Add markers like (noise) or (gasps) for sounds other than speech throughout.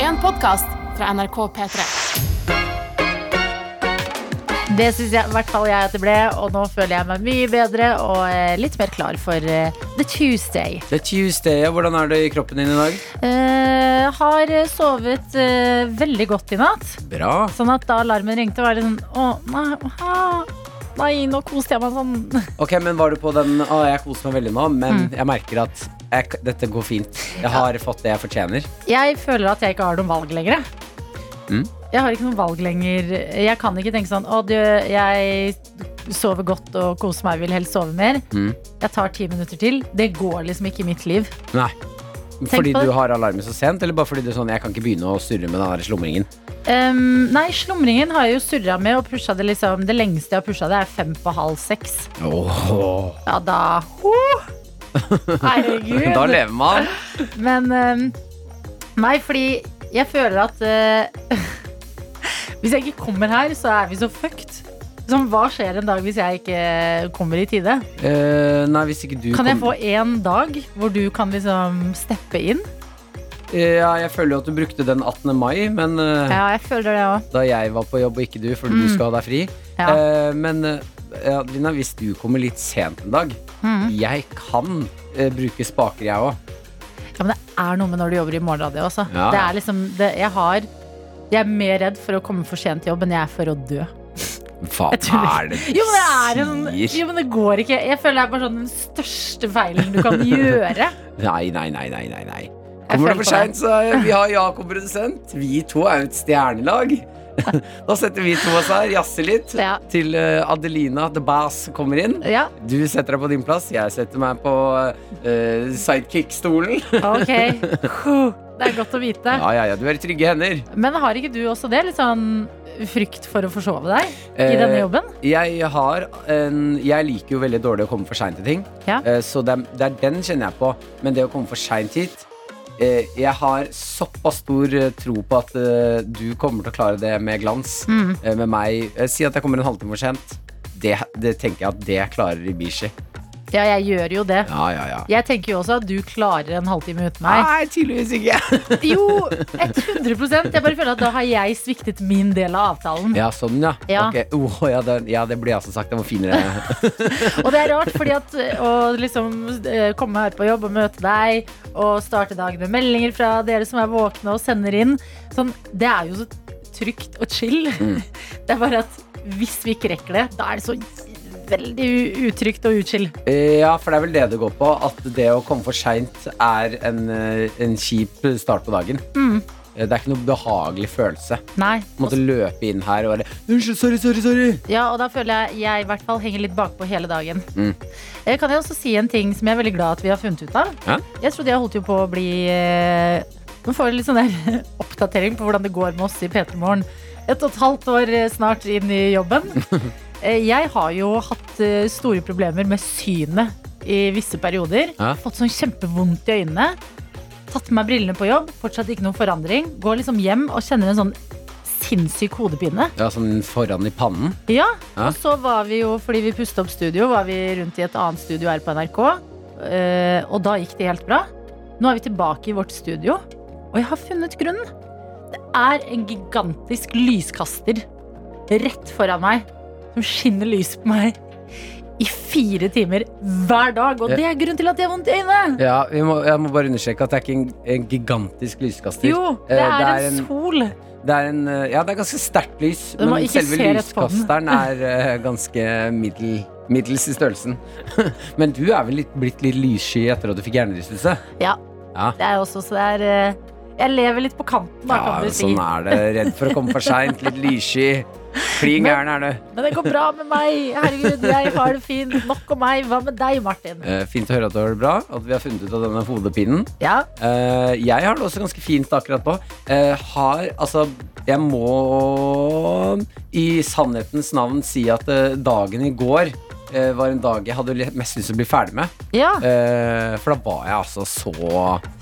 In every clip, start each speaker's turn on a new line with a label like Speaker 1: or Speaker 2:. Speaker 1: en podkast fra NRK P3.
Speaker 2: Det syns jeg, i hvert fall jeg at det ble, og nå føler jeg meg mye bedre og eh, litt mer klar for eh, The Tuesday.
Speaker 3: Det er Tuesday, og hvordan er det i kroppen din i dag?
Speaker 2: Eh, har eh, sovet eh, veldig godt i natt,
Speaker 3: Bra.
Speaker 2: sånn at da alarmen ringte, var det sånn Å, nei, aha, nei nå koste jeg meg sånn. (laughs)
Speaker 3: Ok, men var du på den Å, jeg koser meg veldig nå, men
Speaker 2: Mm.
Speaker 3: jeg merker at jeg, k- dette går fint. Jeg har fått det jeg fortjener.
Speaker 2: Jeg føler at jeg ikke har noe valg lenger. jeg.
Speaker 3: Mm.
Speaker 2: Jeg har ikke noe valg lenger. Jeg kan ikke tenke sånn Å, du, jeg sover godt og koser meg, vil helst sove mer.
Speaker 3: Mm.
Speaker 2: Jeg tar ti minutter til. Det går liksom ikke i mitt liv.
Speaker 3: Nei. Fordi
Speaker 2: på det.
Speaker 3: du har alarmen så sent, eller bare fordi du er sånn, jeg kan ikke begynne å surre med den der slumringen?
Speaker 2: Ehm, nei, slumringen har jeg jo surra med og pusha det liksom Det lengste jeg har pusha det, er fem på halv seks.
Speaker 3: Åh.
Speaker 2: Ja, da Huh! Herregud.
Speaker 3: Da lever man.
Speaker 2: Men ehm, Nei, fordi jeg føler at eh, (laughs) Hvis jeg ikke kommer her, så er vi så fucked. Sånn, hva skjer en dag hvis jeg ikke kommer i tide?
Speaker 3: Eh, nei, hvis ikke du
Speaker 2: Kan jeg få
Speaker 3: kom-
Speaker 2: én dag hvor du kan liksom steppe inn?
Speaker 3: Eh, Ja, jeg føler jo at du brukte den 18. mai, men eh,
Speaker 2: Ja, jeg føler det òg.
Speaker 3: da jeg var på jobb og ikke du, fordi du
Speaker 2: Mm.
Speaker 3: skal ha deg fri.
Speaker 2: Ja.
Speaker 3: Eh, men eh, Adelina, hvis du kommer litt sent en dag
Speaker 2: Mhm.
Speaker 3: Jeg kan eh, bruke spaker, jeg òg.
Speaker 2: Ja, men det er noe med når du jobber i morgenradio også.
Speaker 3: Ja.
Speaker 2: Det er liksom, det, jeg har Jeg er mer redd for å komme for sent til jobb enn jeg er for å dø.
Speaker 3: Hva
Speaker 2: Jeg tror-
Speaker 3: er det du
Speaker 2: Jo, men det er en, sånn-
Speaker 3: sier?
Speaker 2: jo, men det går ikke. Jeg føler det er bare sånn den største feilen du kan
Speaker 3: (laughs)
Speaker 2: gjøre.
Speaker 3: Nei, nei, nei, nei, nei, nei. Kommer
Speaker 2: føler
Speaker 3: du
Speaker 2: på
Speaker 3: for seint, så eh, vi har Jakob produsent. Vi to er jo et stjernelag. (laughs) da setter vi to oss her, jazzer litt,
Speaker 2: Ja.
Speaker 3: til eh, Adelina the Bass kommer inn.
Speaker 2: Ja,
Speaker 3: Du setter deg på din plass, jeg setter meg på eh, sidekick-stolen.
Speaker 2: ok. Huh, Det er godt å vite.
Speaker 3: Ja, ja, ja, du er i trygge hender.
Speaker 2: Men har ikke du også det? Litt sånn frykt for å forsove deg i denne
Speaker 3: Eh,
Speaker 2: jobben?
Speaker 3: Jeg har en Jeg liker jo veldig dårlig å komme for seint til ting.
Speaker 2: Ja.
Speaker 3: Eh, Så det er, det er den kjenner jeg på. Men det å komme for seint hit eh, Jeg har såpass stor eh, tro på at eh, du kommer til å klare det med glans.
Speaker 2: Mm.
Speaker 3: Eh, Med meg eh, Si at jeg kommer en halvtime for sent. Det, det tenker jeg at det klarer Ibishi.
Speaker 2: Ja, jeg gjør jo det.
Speaker 3: Ja, ja, ja.
Speaker 2: Jeg tenker jo også at du klarer en halvtime uten meg.
Speaker 3: Nei, tydeligvis ikke.
Speaker 2: (laughs) Jo, 100 Jeg bare føler at da har jeg sviktet min del av avtalen.
Speaker 3: Ja, sånn, ja.
Speaker 2: Ja.
Speaker 3: Ok. Oh, ja, det, ja, det burde jeg også sagt. Det var finere.
Speaker 2: Og det er rart, fordi at eh, å liksom eh, komme her på jobb og møte deg, og starte dagen med meldinger fra dere som er våkne og sender inn, sånn, det er jo så trygt og chill.
Speaker 3: Mm.
Speaker 2: (laughs) Det er bare at hvis vi ikke rekker det, da er det så veldig u- utrygt og uchill.
Speaker 3: Eh, Ja, for det er vel det det går på. At det å komme for seint er en, eh, en kjip start på dagen.
Speaker 2: Mm.
Speaker 3: Eh, Det er ikke noe behagelig følelse.
Speaker 2: Nei.
Speaker 3: Måtte løpe inn her og bare Unnskyld, sorry, sorry, sorry.
Speaker 2: Ja, og da føler jeg jeg i hvert fall henger litt bakpå hele dagen.
Speaker 3: Mm.
Speaker 2: Eh, Kan jeg også si en ting som jeg er veldig glad at vi har funnet ut av?
Speaker 3: Ja.
Speaker 2: Jeg trodde jeg holdt jo på å bli eh, Nå får jeg litt sånn der (laughs) oppdatering på hvordan det går med oss i P3 Morgen. Et og et halvt år eh, snart inn i
Speaker 3: (laughs)
Speaker 2: jobben. Eh, Jeg har jo hatt eh, store problemer med synet i visse perioder.
Speaker 3: Ja.
Speaker 2: Fått sånn kjempevondt i øynene. Tatt med meg brillene på jobb, fortsatt ikke noen forandring. Går liksom hjem og kjenner en sånn sinnssyk hodepine.
Speaker 3: Ja, sånn foran i pannen.
Speaker 2: Ja,
Speaker 3: Ja.
Speaker 2: og så var vi jo, fordi vi pustet opp studio, var vi rundt i et annet studio her på NRK. eh, og da gikk det helt bra. Nå er vi tilbake i vårt studio, og jeg har funnet grunnen. Det er en gigantisk lyskaster rett foran meg, som skinner lys på meg i fire timer hver dag. Og det er grunnen til at jeg har vondt i øynene.
Speaker 3: Ja, vi må, jeg må bare understreke at det er ikke en, en gigantisk lyskaster.
Speaker 2: Jo, det
Speaker 3: Eh,
Speaker 2: er,
Speaker 3: det er
Speaker 2: en
Speaker 3: en-
Speaker 2: sol.
Speaker 3: Det er en eh, Ja, det er ganske sterkt lys,
Speaker 2: Du må
Speaker 3: men
Speaker 2: ikke
Speaker 3: selve
Speaker 2: se rett på den.
Speaker 3: lyskasteren er eh, ganske middel, middels i størrelsen. (laughs) men du er vel litt, blitt litt lyssky etter at du fikk hjernerystelse?
Speaker 2: Det er også, så det er eh, Jeg lever litt på kanten, da,
Speaker 3: Ja,
Speaker 2: kan du si.
Speaker 3: sånn er det. Redd for å komme for seint, litt lyssky. Klin gæren er du.
Speaker 2: Men det går bra med meg. Herregud, jeg har det fint. Nok om meg. Hva med deg, Martin?
Speaker 3: Eh, Fint å høre at du har det bra, at vi har funnet ut av denne hodepinen.
Speaker 2: Ja,
Speaker 3: Eh, jeg har det også ganske fint akkurat nå. Eh, har Altså, jeg må i sannhetens navn si at eh, dagen i går eh, var en dag jeg hadde le- mest lyst til å bli ferdig med.
Speaker 2: ja.
Speaker 3: Eh, for da var jeg altså så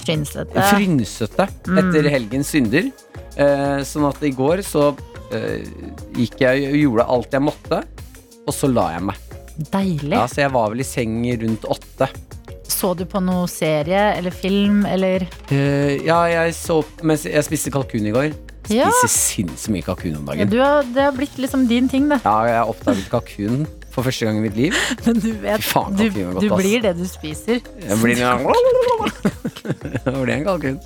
Speaker 2: Frynsete.
Speaker 3: frynsete
Speaker 2: Mm.
Speaker 3: etter helgens synder. Eh, sånn at i går så eh, gikk jeg og gjorde alt jeg måtte, og så la jeg meg.
Speaker 2: Deilig.
Speaker 3: Ja, så jeg var vel i seng rundt åtte.
Speaker 2: Så du på noe serie eller film eller
Speaker 3: Eh, ja, jeg så Mens jeg spiste kalkun i går. Spiser
Speaker 2: Ja.
Speaker 3: sinnssykt mye kalkun om
Speaker 2: ja,
Speaker 3: dagen.
Speaker 2: du har, Det har blitt liksom din ting,
Speaker 3: (laughs)
Speaker 2: det.
Speaker 3: Ja, jeg har oppdaget kalkun for første gang i mitt liv.
Speaker 2: Men du vet,
Speaker 3: Fy faen,
Speaker 2: du,
Speaker 3: kalkun var godt,
Speaker 2: du
Speaker 3: ass.
Speaker 2: blir det du spiser.
Speaker 3: Jeg
Speaker 2: (laughs)
Speaker 3: blir Det blir en kalkun.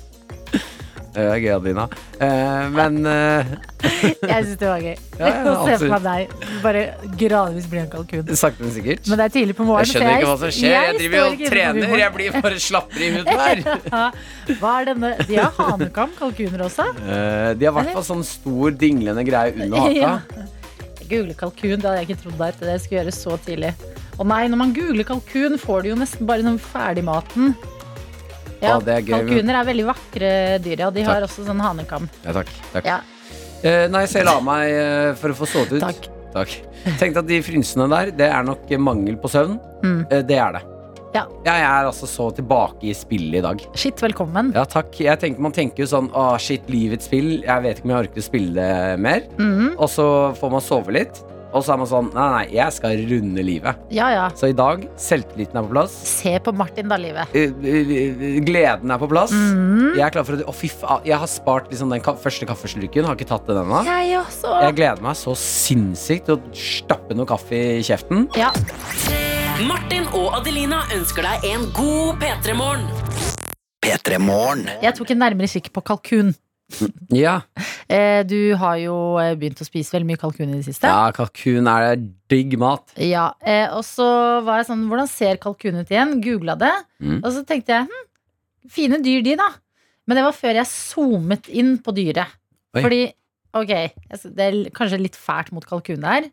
Speaker 3: Det er gøy, Adelina. Eh, men eh,
Speaker 2: Jeg syns det var gøy.
Speaker 3: Ja, ja,
Speaker 2: Å (laughs) se for
Speaker 3: absolutt.
Speaker 2: meg deg bare gradvis bli en kalkun.
Speaker 3: sakte, men sikkert.
Speaker 2: Men det er tidlig på morgenen.
Speaker 3: Jeg skjønner ikke hva som skjer. Jeg
Speaker 2: står
Speaker 3: driver jo og
Speaker 2: ikke inne på
Speaker 3: trener.
Speaker 2: humoren.
Speaker 3: Jeg blir bare slappere i huden her.
Speaker 2: (laughs) Hva er denne? De har hanekam, kalkuner også.
Speaker 3: (laughs) Eh, de har i hvert fall sånn stor dinglende greie under
Speaker 2: (laughs) Ja.
Speaker 3: haka.
Speaker 2: Jeg googler kalkun, det hadde jeg ikke trodd det, at jeg skulle gjøre så tidlig. Å nei, når man googler kalkun, får du jo nesten bare den ferdigmaten. Ja,
Speaker 3: Å, det er gøy, men-
Speaker 2: kalkuner er veldig vakre dyr, ja. De har også sånn hanekam.
Speaker 3: Ja, takk. takk.
Speaker 2: Ja.
Speaker 3: Eh, nei, så jeg la meg eh, for å få stått ut.
Speaker 2: Takk.
Speaker 3: Takk. Tenkte at de frynsene der, det er nok eh, mangel på søvn.
Speaker 2: Mm.
Speaker 3: Eh, det er det.
Speaker 2: Ja.
Speaker 3: Jeg er altså så tilbake i spillet i dag.
Speaker 2: Shit, velkommen.
Speaker 3: Ja, takk. Jeg tenker, man tenker jo sånn Å, shit, livets spill. Jeg vet ikke om jeg orker å spille det mer.
Speaker 2: Mhm.
Speaker 3: Og så får man sove litt. Og så er man sånn Nei, nei, jeg skal runde livet.
Speaker 2: Ja, ja.
Speaker 3: Så i dag, selvtilliten er på plass.
Speaker 2: Se på Martin, da, livet.
Speaker 3: Eh, eh, Gleden er på plass.
Speaker 2: Mhm.
Speaker 3: Jeg er klar for å Å, fy faen. Jeg har spart liksom den ka første kaffeslurken. Har ikke tatt den ennå.
Speaker 2: Jeg også.
Speaker 3: Jeg gleder meg så sinnssykt til å stappe noe kaffe i kjeften.
Speaker 2: Ja.
Speaker 4: Martin og Adelina ønsker deg en god P3-morgen.
Speaker 2: Jeg tok en nærmere kikk på kalkun.
Speaker 3: Ja,
Speaker 2: Eh, Du har jo eh, begynt å spise veldig mye kalkun i det siste.
Speaker 3: ja kalkun er digg mat.
Speaker 2: Ja, eh, og så var jeg sånn Hvordan ser kalkun ut igjen? Googla det,
Speaker 3: Mm.
Speaker 2: og så tenkte jeg hm, Fine dyr de da Men det var før jeg zoomet inn på dyret
Speaker 3: Oi.
Speaker 2: Fordi, ok jeg s- Det er l- kanskje litt fælt mot kalkun der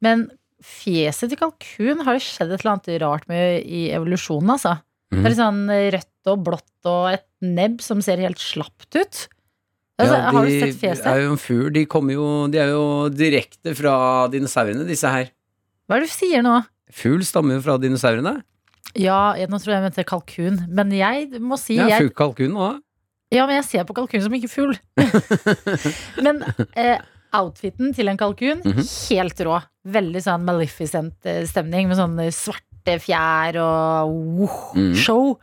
Speaker 2: Men fjeset til kalkun Har det skjedd et eller annet rart med I evolusjonen altså
Speaker 3: Mhm.
Speaker 2: Det er litt sånn rødt og blått og et nebb Som ser helt slappt ut altså,
Speaker 3: Ja,
Speaker 2: Har du
Speaker 3: de
Speaker 2: sett fjeset?
Speaker 3: Er jo en fugl. De, kommer jo, de er jo direkte fra dinosaurene, disse her.
Speaker 2: Hva er det du sier nå?
Speaker 3: Fugl stammer jo fra dinosaurene.
Speaker 2: Ja, jeg, nå tror jeg jeg mente kalkun Men jeg må si
Speaker 3: Ja,
Speaker 2: jeg
Speaker 3: fugl kalkun òg.
Speaker 2: Ja, men jeg ser på kalkun som ikke fugl. (laughs) men eh, outfiten til en kalkun,
Speaker 3: Mhm.
Speaker 2: helt rå. Veldig sånn maleficent eh, stemning med sånne svarte fjær og wow,
Speaker 3: Mhm.
Speaker 2: show.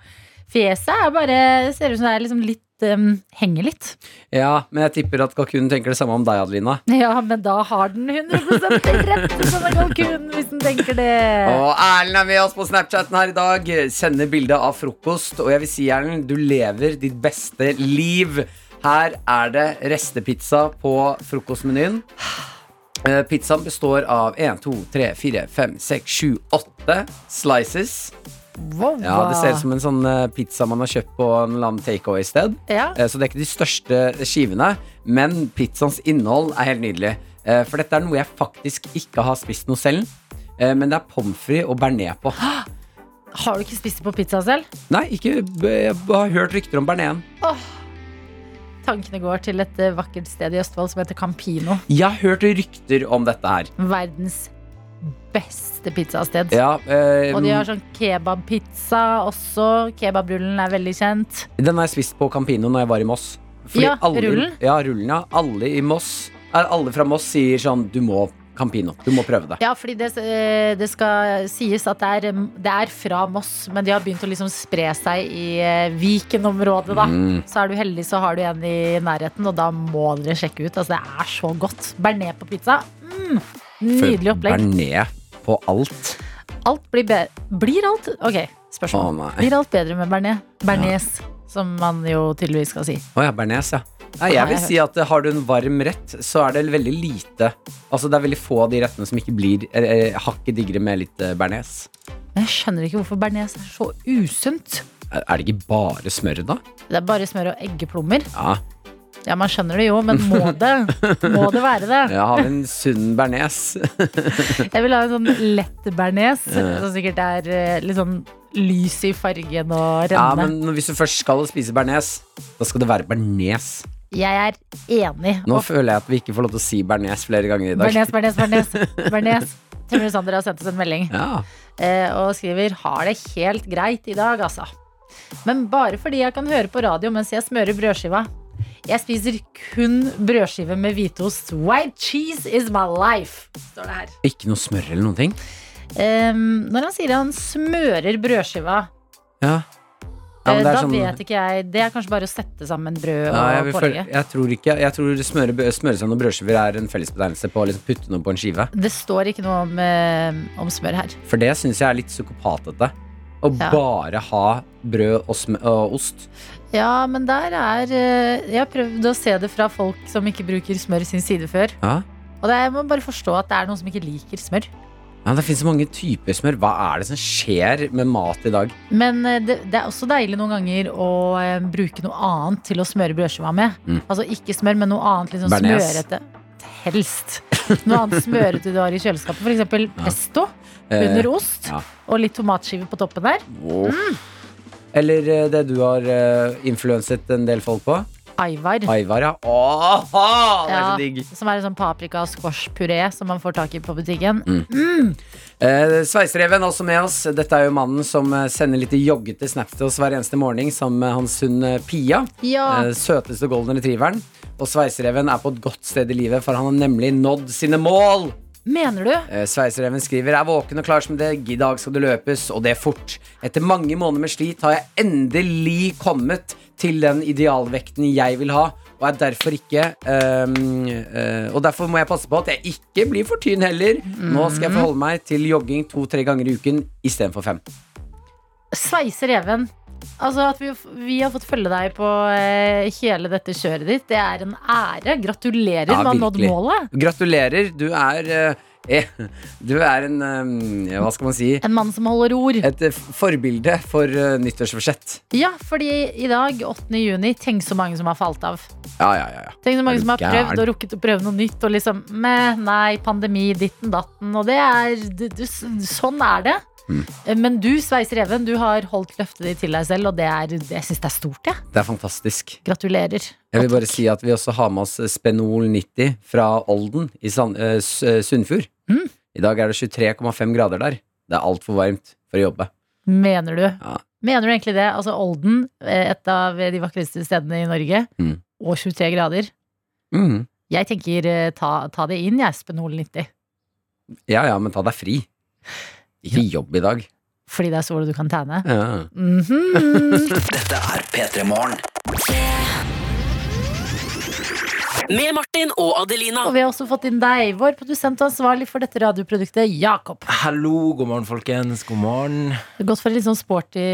Speaker 2: Fjeset er bare, ser ut som det er liksom litt em, henger litt.
Speaker 3: Ja, men jeg tipper at kalkunen tenker det samme om deg, Adelina.
Speaker 2: Ja, men da har den 100 rett til sånne kalkun, hvis den tenker det.
Speaker 3: Og Erlend er med oss på Snapchatten her i dag. Sender bilde av frokost. Og jeg vil si, Erlend, du lever ditt beste liv. Her er det restepizza på frokostmenyen. Eh, Pizzaen består av 1, 2, 3, 4, 5, 6, 7, 8 slices.
Speaker 2: Wow.
Speaker 3: Ja, Det ser ut som en sånn eh, pizza man har kjøpt på en eller annen takeaway-sted.
Speaker 2: Ja.
Speaker 3: Eh, Så det er ikke de største skivene, men pizzaens innhold er helt nydelig. Eh, For dette er noe jeg faktisk ikke har spist noe selv. eh, Men det er pommes frites og bearnés
Speaker 2: (gasps)
Speaker 3: på.
Speaker 2: Har du ikke spist det på pizza selv?
Speaker 3: Nei, ikke, jeg har hørt rykter om bearnésen.
Speaker 2: Tankene går til et eh, vakkert sted i Østfold som heter Campino.
Speaker 3: Jeg har hørt rykter om dette her.
Speaker 2: Verdens beste pizzasted.
Speaker 3: Ja, eh,
Speaker 2: Og de har sånn kebabpizza også. Kebabrullen er veldig kjent.
Speaker 3: Den har jeg spist på Campino når jeg var i Moss.
Speaker 2: Ja, rullen.
Speaker 3: Ja, rullen, ja. Alle i Moss er- Alle fra Moss sier sånn Du må Campino. Du må prøve det.
Speaker 2: Ja, fordi det, eh, det skal sies at det er, eh, det er fra Moss, men de har begynt å liksom spre seg i eh, Viken-området, da.
Speaker 3: Mm.
Speaker 2: Så er du heldig, så har du en i nærheten, og da må dere sjekke ut. Altså, det er så godt. Bearnés på pizza. Mm, nydelig opplegg.
Speaker 3: Bearnés på alt.
Speaker 2: Alt blir bedre. Blir alt Ok,
Speaker 3: Å
Speaker 2: spørsmål.
Speaker 3: nei.
Speaker 2: Blir alt bedre med bearnés? Bearnés, som man jo tydeligvis skal si.
Speaker 3: Å ja, bearnés, ja. Nei, jeg vil si at eh, har du en varm rett, så er det veldig lite Altså det er veldig få av de rettene som ikke blir eh, eh, hakket diggere med litt eh, bearnés.
Speaker 2: Men jeg skjønner ikke hvorfor bearnés er så usunt.
Speaker 3: Er er det ikke bare smør, da?
Speaker 2: Det er bare smør og eggeplommer.
Speaker 3: Ja.
Speaker 2: Ja, man skjønner det jo, men
Speaker 3: (laughs)
Speaker 2: må det? Må det være det?
Speaker 3: Jeg har en sunn bearnés.
Speaker 2: (laughs) Jeg vil ha en sånn lett bearnés, som sikkert er eh, litt sånn lys i fargen og
Speaker 3: Ja,
Speaker 2: rennende.
Speaker 3: men hvis du først skal spise bearnés, da skal det være bearnés.
Speaker 2: Jeg er enig.
Speaker 3: Nå
Speaker 2: Og
Speaker 3: føler jeg at vi ikke får lov til å si bearnés flere ganger i dag.
Speaker 2: Bearnés, bearnés, bearnés.
Speaker 3: (laughs)
Speaker 2: bearnés. Tømmer Sander har sendt oss en melding
Speaker 3: Ja.
Speaker 2: eh, og skriver har det helt greit i dag, altså. Men bare fordi jeg kan høre på radio mens jeg smører brødskiva. Jeg spiser kun brødskive med hvitost. White cheese is my life, står det her.
Speaker 3: Ikke noe smør eller noen ting?
Speaker 2: Ehm, når han sier han smører brødskiva,
Speaker 3: Ja. Ja, men
Speaker 2: Eh,
Speaker 3: det er
Speaker 2: da
Speaker 3: sånn-
Speaker 2: vet ikke jeg Det er kanskje bare å sette sammen brød og
Speaker 3: Ja, jeg, vil følge,
Speaker 2: pålegge.
Speaker 3: jeg tror ikke Jeg tror smøre, smøresand og brødskiver er en fellesbetegnelse på å liksom putte noe på en skive.
Speaker 2: Det står ikke noe om, eh, om smør her.
Speaker 3: For det syns jeg er litt psykopatete. Å
Speaker 2: Ja.
Speaker 3: bare ha brød og, sm og ost.
Speaker 2: Ja, men der er eh, Jeg har prøvd å se det fra folk som ikke bruker smør i sin side før.
Speaker 3: Ja.
Speaker 2: Og det, er- jeg må bare forstå at det er noen som ikke liker smør.
Speaker 3: Ja, det fins så mange typer smør. Hva er det som skjer med mat i dag?
Speaker 2: Men eh, det, det er også deilig noen ganger å eh, bruke noe annet til å smøre brødskiva med.
Speaker 3: Mm.
Speaker 2: Altså ikke smør, men noe annet liksom
Speaker 3: Bearnaise.
Speaker 2: smørete. Helst. Noe annet smørete du har i kjøleskapet. For eksempel pesto
Speaker 3: Eh,
Speaker 2: under ost.
Speaker 3: ja.
Speaker 2: Og litt tomatskive på toppen der.
Speaker 3: wow.
Speaker 2: Mm.
Speaker 3: Eller eh, det du har eh, influenset en del folk på.
Speaker 2: Aivar.
Speaker 3: Aivar, ja. Åh, det er
Speaker 2: Ja,
Speaker 3: så digg!
Speaker 2: som er en sånn paprika- og squashpuré som man får tak i på butikken.
Speaker 3: Mm. Eh, Sveisereven er også med oss. Dette er jo mannen som eh, sender litt joggete snaps til oss hver eneste morgen sammen med hans hund eh, Pia.
Speaker 2: Ja.
Speaker 3: Eh, søteste golden retrieveren. Og sveisereven er på et godt sted i livet, for han har nemlig nådd sine mål.
Speaker 2: Mener du?
Speaker 3: Eh, Sveisereven skriver er våken og klar som det. I dag skal det løpes, og det fort. Etter mange måneder med slit har jeg endelig kommet til den idealvekten jeg vil ha. Og er derfor ikke ehm, eh, Og derfor må jeg passe på at jeg ikke blir for tynn heller. Nå skal jeg forholde meg til jogging to-tre ganger i uken istedenfor fem.
Speaker 2: Sveise reven. Altså At vi, vi har fått følge deg på eh, hele dette kjøret ditt, det er en ære. Gratulerer,
Speaker 3: Ja,
Speaker 2: du har nådd
Speaker 3: virkelig.
Speaker 2: målet.
Speaker 3: Gratulerer. Du er eh, eh, (laughs) Du er en ehm, ja, Hva skal man si?
Speaker 2: En mann som holder ord.
Speaker 3: Et eh, forbilde for eh, nyttårsforsett.
Speaker 2: Ja, fordi i dag, 8. juni, tenk så mange som har falt av.
Speaker 3: Ja, ja, ja. ja.
Speaker 2: Tenk så
Speaker 3: Er
Speaker 2: mange
Speaker 3: du
Speaker 2: som har
Speaker 3: gæren?
Speaker 2: prøvd og rukket å prøve noe nytt, og liksom meh, Nei, pandemi, ditten datten. Og det er det, det, Sånn er det.
Speaker 3: Mm.
Speaker 2: Men du, Sveis Reven, du har holdt løftet ditt til deg selv, og det er, jeg syns det er stort, jeg.
Speaker 3: Det er fantastisk.
Speaker 2: Gratulerer.
Speaker 3: Jeg vil bare si at vi også har med oss eh, Spenol 90 fra Olden i Sand, eh, S- eh, Sunnfjord.
Speaker 2: Mm.
Speaker 3: I dag er det 23,5 grader der. Det er altfor varmt for å jobbe.
Speaker 2: Mener du?
Speaker 3: Ja.
Speaker 2: Mener du egentlig det? Altså Olden, eh, et av de vakreste stedene i Norge,
Speaker 3: Mm.
Speaker 2: og 23 grader.
Speaker 3: Mhm.
Speaker 2: Jeg tenker eh, ta, ta det inn, jeg, Spenol 90.
Speaker 3: Ja ja, men ta deg fri. Ikke jobb i dag.
Speaker 2: Fordi det er sol og du kan tegne.
Speaker 3: Ja.
Speaker 2: Mhm.
Speaker 4: Med Martin og Adelina.
Speaker 2: Og vi har også fått inn deg, vår produsent og ansvarlig for dette radioproduktet, Jakob.
Speaker 5: Ah. Hallo, god morgen, folkens. God morgen.
Speaker 2: Det har gått for en litt sånn sporty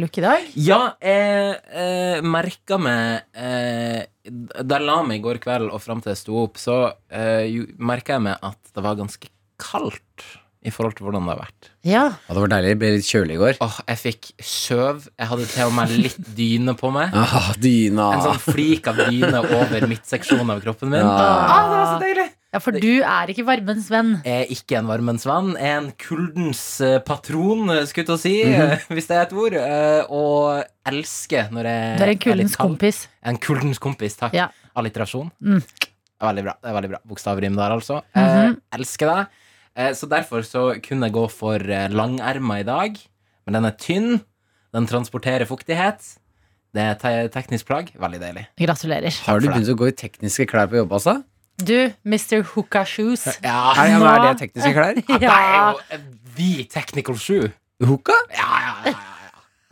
Speaker 2: look i dag.
Speaker 5: Ja, jeg eh, merka meg eh, Da jeg la meg i går kveld og fram til jeg sto opp, så eh, merka jeg meg at det var ganske kaldt i forhold til hvordan det har vært.
Speaker 2: Ja.
Speaker 3: Ja, det var deilig. Det ble litt kjølig i går.
Speaker 5: Åh, Jeg fikk søv. Jeg hadde til og med litt dyne på meg.
Speaker 3: Ah, dyna.
Speaker 5: En sånn flik av dyne over midtseksjonen av kroppen min.
Speaker 3: Ja.
Speaker 5: Ah, det var så deilig!
Speaker 2: ja, for du er ikke varmens venn.
Speaker 5: Jeg er ikke en varmens venn. Jeg er en kuldens eh, patron, eh, skulle jeg til å si, eh, (laughs) hvis det er et ord. eh, Og elsker når jeg
Speaker 2: Du er en
Speaker 5: litt
Speaker 2: kuldens
Speaker 5: kald.
Speaker 2: kompis.
Speaker 5: Jeg er En kuldens kompis, takk.
Speaker 2: Ja.
Speaker 5: Alliterasjon.
Speaker 2: Mm.
Speaker 5: Det er veldig bra. det er veldig bra Bokstavrim der, altså.
Speaker 2: Mhm.
Speaker 5: eh, elsker deg. Eh, så derfor så kunne jeg gå for eh, langerma i dag. Men den er tynn. Den transporterer fuktighet. Det er te teknisk plagg. Veldig deilig.
Speaker 2: Gratulerer.
Speaker 3: Har du
Speaker 5: for det.
Speaker 3: begynt å gå i tekniske klær på jobb, altså?
Speaker 2: Du, Mr. Hooka Shoes.
Speaker 5: Ja,
Speaker 3: Er det,
Speaker 2: Nå-
Speaker 3: er det tekniske klær?
Speaker 5: det er
Speaker 2: Ja.
Speaker 5: jo eh, the technical shoe.
Speaker 3: Hooka?
Speaker 5: Ja, ja, ja, ja.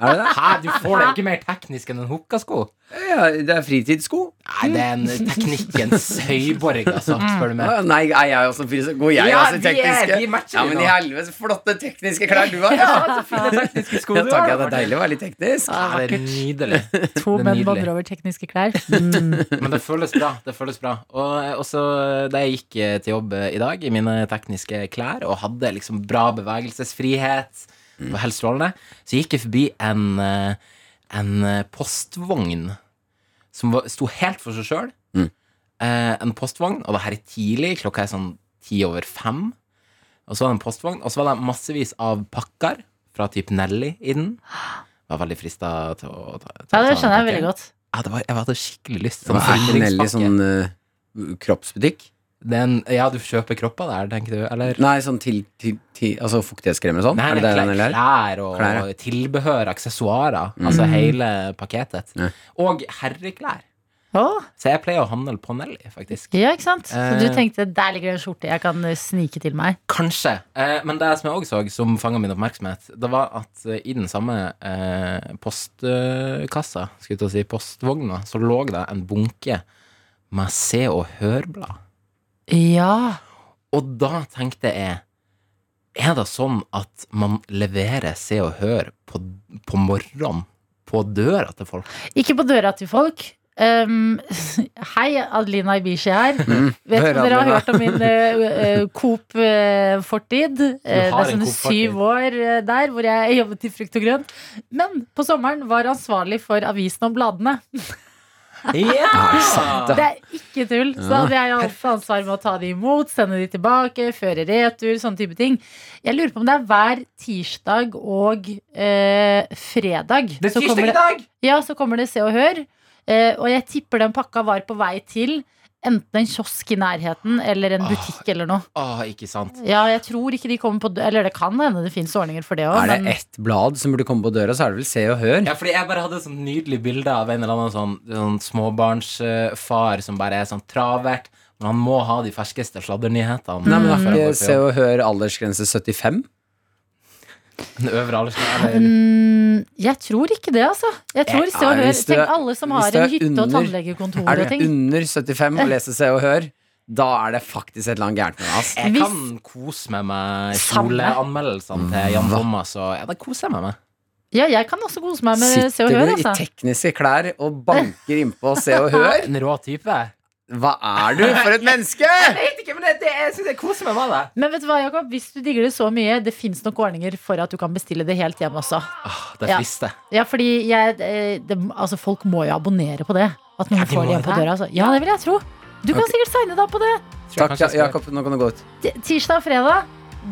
Speaker 3: Er det det?
Speaker 5: Hæ, du får det ikke mer teknisk enn en hokkasko?
Speaker 3: Ja, det er fritidssko.
Speaker 5: Nei, det er en eh, teknikkens høyborg, altså, spør du meg.
Speaker 3: Ah, Nei, er jeg også fritidssko? Går jeg
Speaker 5: Ja,
Speaker 3: også i
Speaker 5: vi er-
Speaker 3: tekniske?
Speaker 5: vi matcher
Speaker 3: ja,
Speaker 5: vi
Speaker 3: men
Speaker 5: nå.
Speaker 3: i helvete, flotte tekniske klær du har. Ja. altså, Ja, takk, ja, det er deilig å være litt teknisk.
Speaker 5: Ja, det er nydelig.
Speaker 2: To
Speaker 5: Det er
Speaker 2: menn
Speaker 5: nydelig.
Speaker 2: bobler over tekniske
Speaker 5: (laughs)
Speaker 2: klær. Mm.
Speaker 5: Men det føles bra. det føles bra Og eh, også da jeg gikk eh, til jobb eh, i dag i mine tekniske klær og hadde liksom bra bevegelsesfrihet, og helt strålende, så gikk jeg forbi en, eh, en eh, postvogn som var- sto helt for seg sjøl.
Speaker 3: Mm.
Speaker 5: Eh, en postvogn, og det her er tidlig, klokka er sånn ti over fem. Og så var det en postvogn, og så var det massevis av pakker fra typ Nelly i den. Var veldig frista til å ta, til å
Speaker 2: Ja,
Speaker 5: ta
Speaker 2: det
Speaker 5: en
Speaker 2: skjønner jeg
Speaker 5: pakke.
Speaker 2: veldig godt.
Speaker 5: Ja, det var, jeg hadde skikkelig lyst.
Speaker 3: Sånn er Nelly sånn eh, kroppsbutikk?
Speaker 5: Det er en, ja, du kjøper kroppa der, tenker du? Eller?
Speaker 3: Nei, sånn til, til, til Altså fuktighetskrem og sånn?
Speaker 5: Nei,
Speaker 3: Er det det
Speaker 5: klær,
Speaker 3: den Nelly er?
Speaker 5: klær og
Speaker 3: Klær, Mm.
Speaker 5: tilbehør, aksessoarer. Altså hele pakketet.
Speaker 3: Ja.
Speaker 5: Og herreklær.
Speaker 2: Å,
Speaker 5: Så jeg pleier å handle på Nelly, faktisk.
Speaker 2: ja, ikke sant? Så du
Speaker 5: Eh.
Speaker 2: tenkte der ligger det en skjorte jeg kan eh, snike til meg.
Speaker 5: Kanskje. Eh, men det som jeg òg så, som fanga min oppmerksomhet, det var at eh, i den samme eh, postkassa, skulle jeg til å si, postvogna, så lå det en bunke med Se og Hør-blad.
Speaker 2: Ja.
Speaker 5: Og da tenkte jeg Er det sånn at man leverer Se og Hør på, på morgenen? På døra til folk?
Speaker 2: Ikke på døra til folk. Um, (laughs) hei, Adelina Ibishi her.
Speaker 5: Mm.
Speaker 2: Vet
Speaker 3: Hør,
Speaker 2: ikke om dere har
Speaker 3: Adelina.
Speaker 2: hørt om min eh, eh, Coop-fortid. Eh, det
Speaker 5: har
Speaker 2: er
Speaker 5: en
Speaker 2: sånne
Speaker 5: Coop-fortid.
Speaker 2: syv år eh, der hvor jeg jobbet i Frukt og Grønt. Men på sommeren var ansvarlig for avisen og bladene.
Speaker 5: Ja!
Speaker 2: Det er ikke tull. Så hadde jeg alt ansvar med å ta de imot, sende de tilbake, føre retur, sånne type ting. Jeg lurer på om det er hver tirsdag og eh, fredag.
Speaker 5: Det er
Speaker 2: så kommer
Speaker 5: tirsdag i dag!
Speaker 2: ja, så kommer det Se og Hør. eh, og jeg tipper den pakka var på vei til enten en kiosk i nærheten eller en butikk eller noe.
Speaker 5: Å, ikke sant.
Speaker 2: Ja, jeg tror ikke de kommer på dø- Eller det kan hende det finnes ordninger for det òg,
Speaker 3: Er det
Speaker 2: men
Speaker 3: ett blad som burde komme på døra, så er det vel Se og Hør.
Speaker 5: Ja, fordi jeg bare hadde et sånt nydelig bilde av en eller annen sånn, sånn småbarnsfar som bare er sånn travert. Men han må ha de ferskeste sladdernyhetene.
Speaker 3: Nei, men
Speaker 5: før
Speaker 3: er
Speaker 5: han går
Speaker 3: ikke
Speaker 5: på
Speaker 3: Se
Speaker 5: jobb.
Speaker 3: og Hør aldersgrense 75?
Speaker 5: Den øvre aldersgrensen, eller-
Speaker 2: Mm, jeg tror ikke det, altså. Jeg tror Se og
Speaker 3: Nei,
Speaker 2: Hør
Speaker 3: hvis du Eh, er-
Speaker 2: Tenk alle som
Speaker 3: hvis
Speaker 2: har
Speaker 3: du
Speaker 2: en
Speaker 3: er
Speaker 2: hytte og
Speaker 3: under-
Speaker 2: tannlegekontor
Speaker 3: Er
Speaker 2: og
Speaker 3: du
Speaker 2: ting.
Speaker 3: under 75 og leser Se og Hør, da er det faktisk et eller annet gærent med deg. ass.
Speaker 5: Jeg
Speaker 2: hvis-
Speaker 5: kan kose meg med
Speaker 2: Samme.
Speaker 5: kjoleanmeldelsene til Jan Thomas. Og, ja, det koser jeg meg med.
Speaker 2: Ja, jeg kan også kose meg med Se og
Speaker 3: Sitter
Speaker 2: Hør,
Speaker 3: du i
Speaker 2: altså.
Speaker 3: tekniske klær og banker innpå Se og Hør?
Speaker 5: En rå type.
Speaker 3: Hva er du for et menneske?!
Speaker 5: Jeg vet ikke, men det, det, jeg synes jeg koser meg med det.
Speaker 2: Men vet du hva, Jakob? Hvis du digger det så mye, det fins nok ordninger for at du kan bestille det helt hjem også.
Speaker 5: Åh, det
Speaker 2: Ja.
Speaker 5: frister.
Speaker 2: Ja, fordi jeg, eh, det, altså folk må jo abonnere på det. At noen
Speaker 5: Ja,
Speaker 2: får
Speaker 5: de må
Speaker 2: det hjem på
Speaker 5: det.
Speaker 2: døra. Altså. Ja, det vil jeg tro. Du kan sikkert signe deg opp på det.
Speaker 5: Tror jeg
Speaker 3: Takk,
Speaker 5: kanskje jeg skal-
Speaker 3: Jakob. Nå kan du gå ut.
Speaker 2: T- Tirsdag og fredag.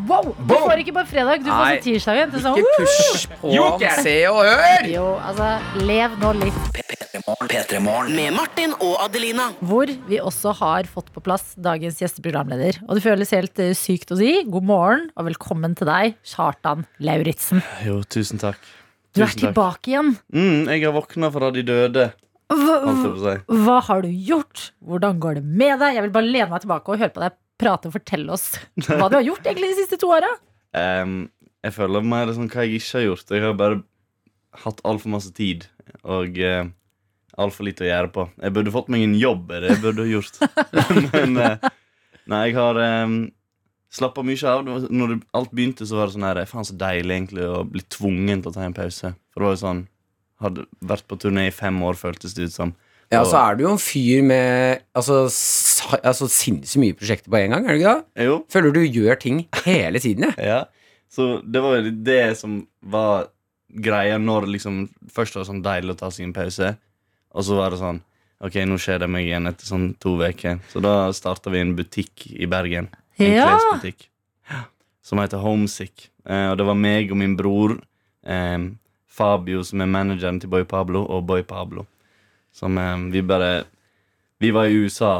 Speaker 2: Wow! Du
Speaker 5: Boom!
Speaker 2: får ikke bare fredag, du får
Speaker 3: Nei.
Speaker 2: også tirsdag igjen. til Sånn,
Speaker 3: Ikke push på om
Speaker 5: Joker!
Speaker 3: Se og Hør!
Speaker 2: woo! jo, altså, lev nå litt.
Speaker 4: Med Martin og Adelina.
Speaker 2: Hvor vi også har fått på plass dagens gjesteprogramleder. Og det føles helt eh, sykt å si god morgen og velkommen til deg, Kjartan Lauritzen.
Speaker 6: Jo, tusen takk.
Speaker 2: Du er
Speaker 6: Tusen takk.
Speaker 2: tilbake igjen.
Speaker 6: Mm, jeg har våkna fra de døde. holdt jeg
Speaker 2: Hva,
Speaker 6: på å si.
Speaker 2: hva har du gjort? Hvordan går det med deg? Jeg vil bare lene meg tilbake og høre på deg prate og fortelle oss hva du har gjort egentlig de siste to åra.
Speaker 6: Uh. Em, jeg føler mer sånn hva jeg ikke har gjort. Jeg har bare hatt altfor masse tid og uh, altfor lite å gjøre på. Jeg burde fått meg en jobb, er det jeg burde ha (laughs) gjort. Men eh, nei, jeg har um, slappa mye av. Det var- Når det, alt begynte, så var det sånn her Faen, så deilig egentlig å bli tvungen til å ta en pause. For det var jo sånn Hadde vært på turné i fem år, føltes det ut som.
Speaker 3: Ja,
Speaker 6: Og-
Speaker 3: så er du jo en fyr med altså, sa- altså sinnssykt mye prosjekter på en gang, er du ikke det?
Speaker 6: Jo,
Speaker 3: Føler du gjør ting hele tiden, (laughs) jeg.
Speaker 6: Ja, så det var jo det som var greia når liksom Først var det sånn deilig å ta seg en pause, og så var det sånn Ok, nå skjer det meg igjen etter sånn to uker. Så da starta vi en butikk i Bergen. En
Speaker 2: Ja.
Speaker 6: klesbutikk. Som heter Homesick. Eh, og det var meg og min bror, eh, Fabio, som er manageren til Boy Pablo, og Boy Pablo. Som eh, vi bare Vi var i USA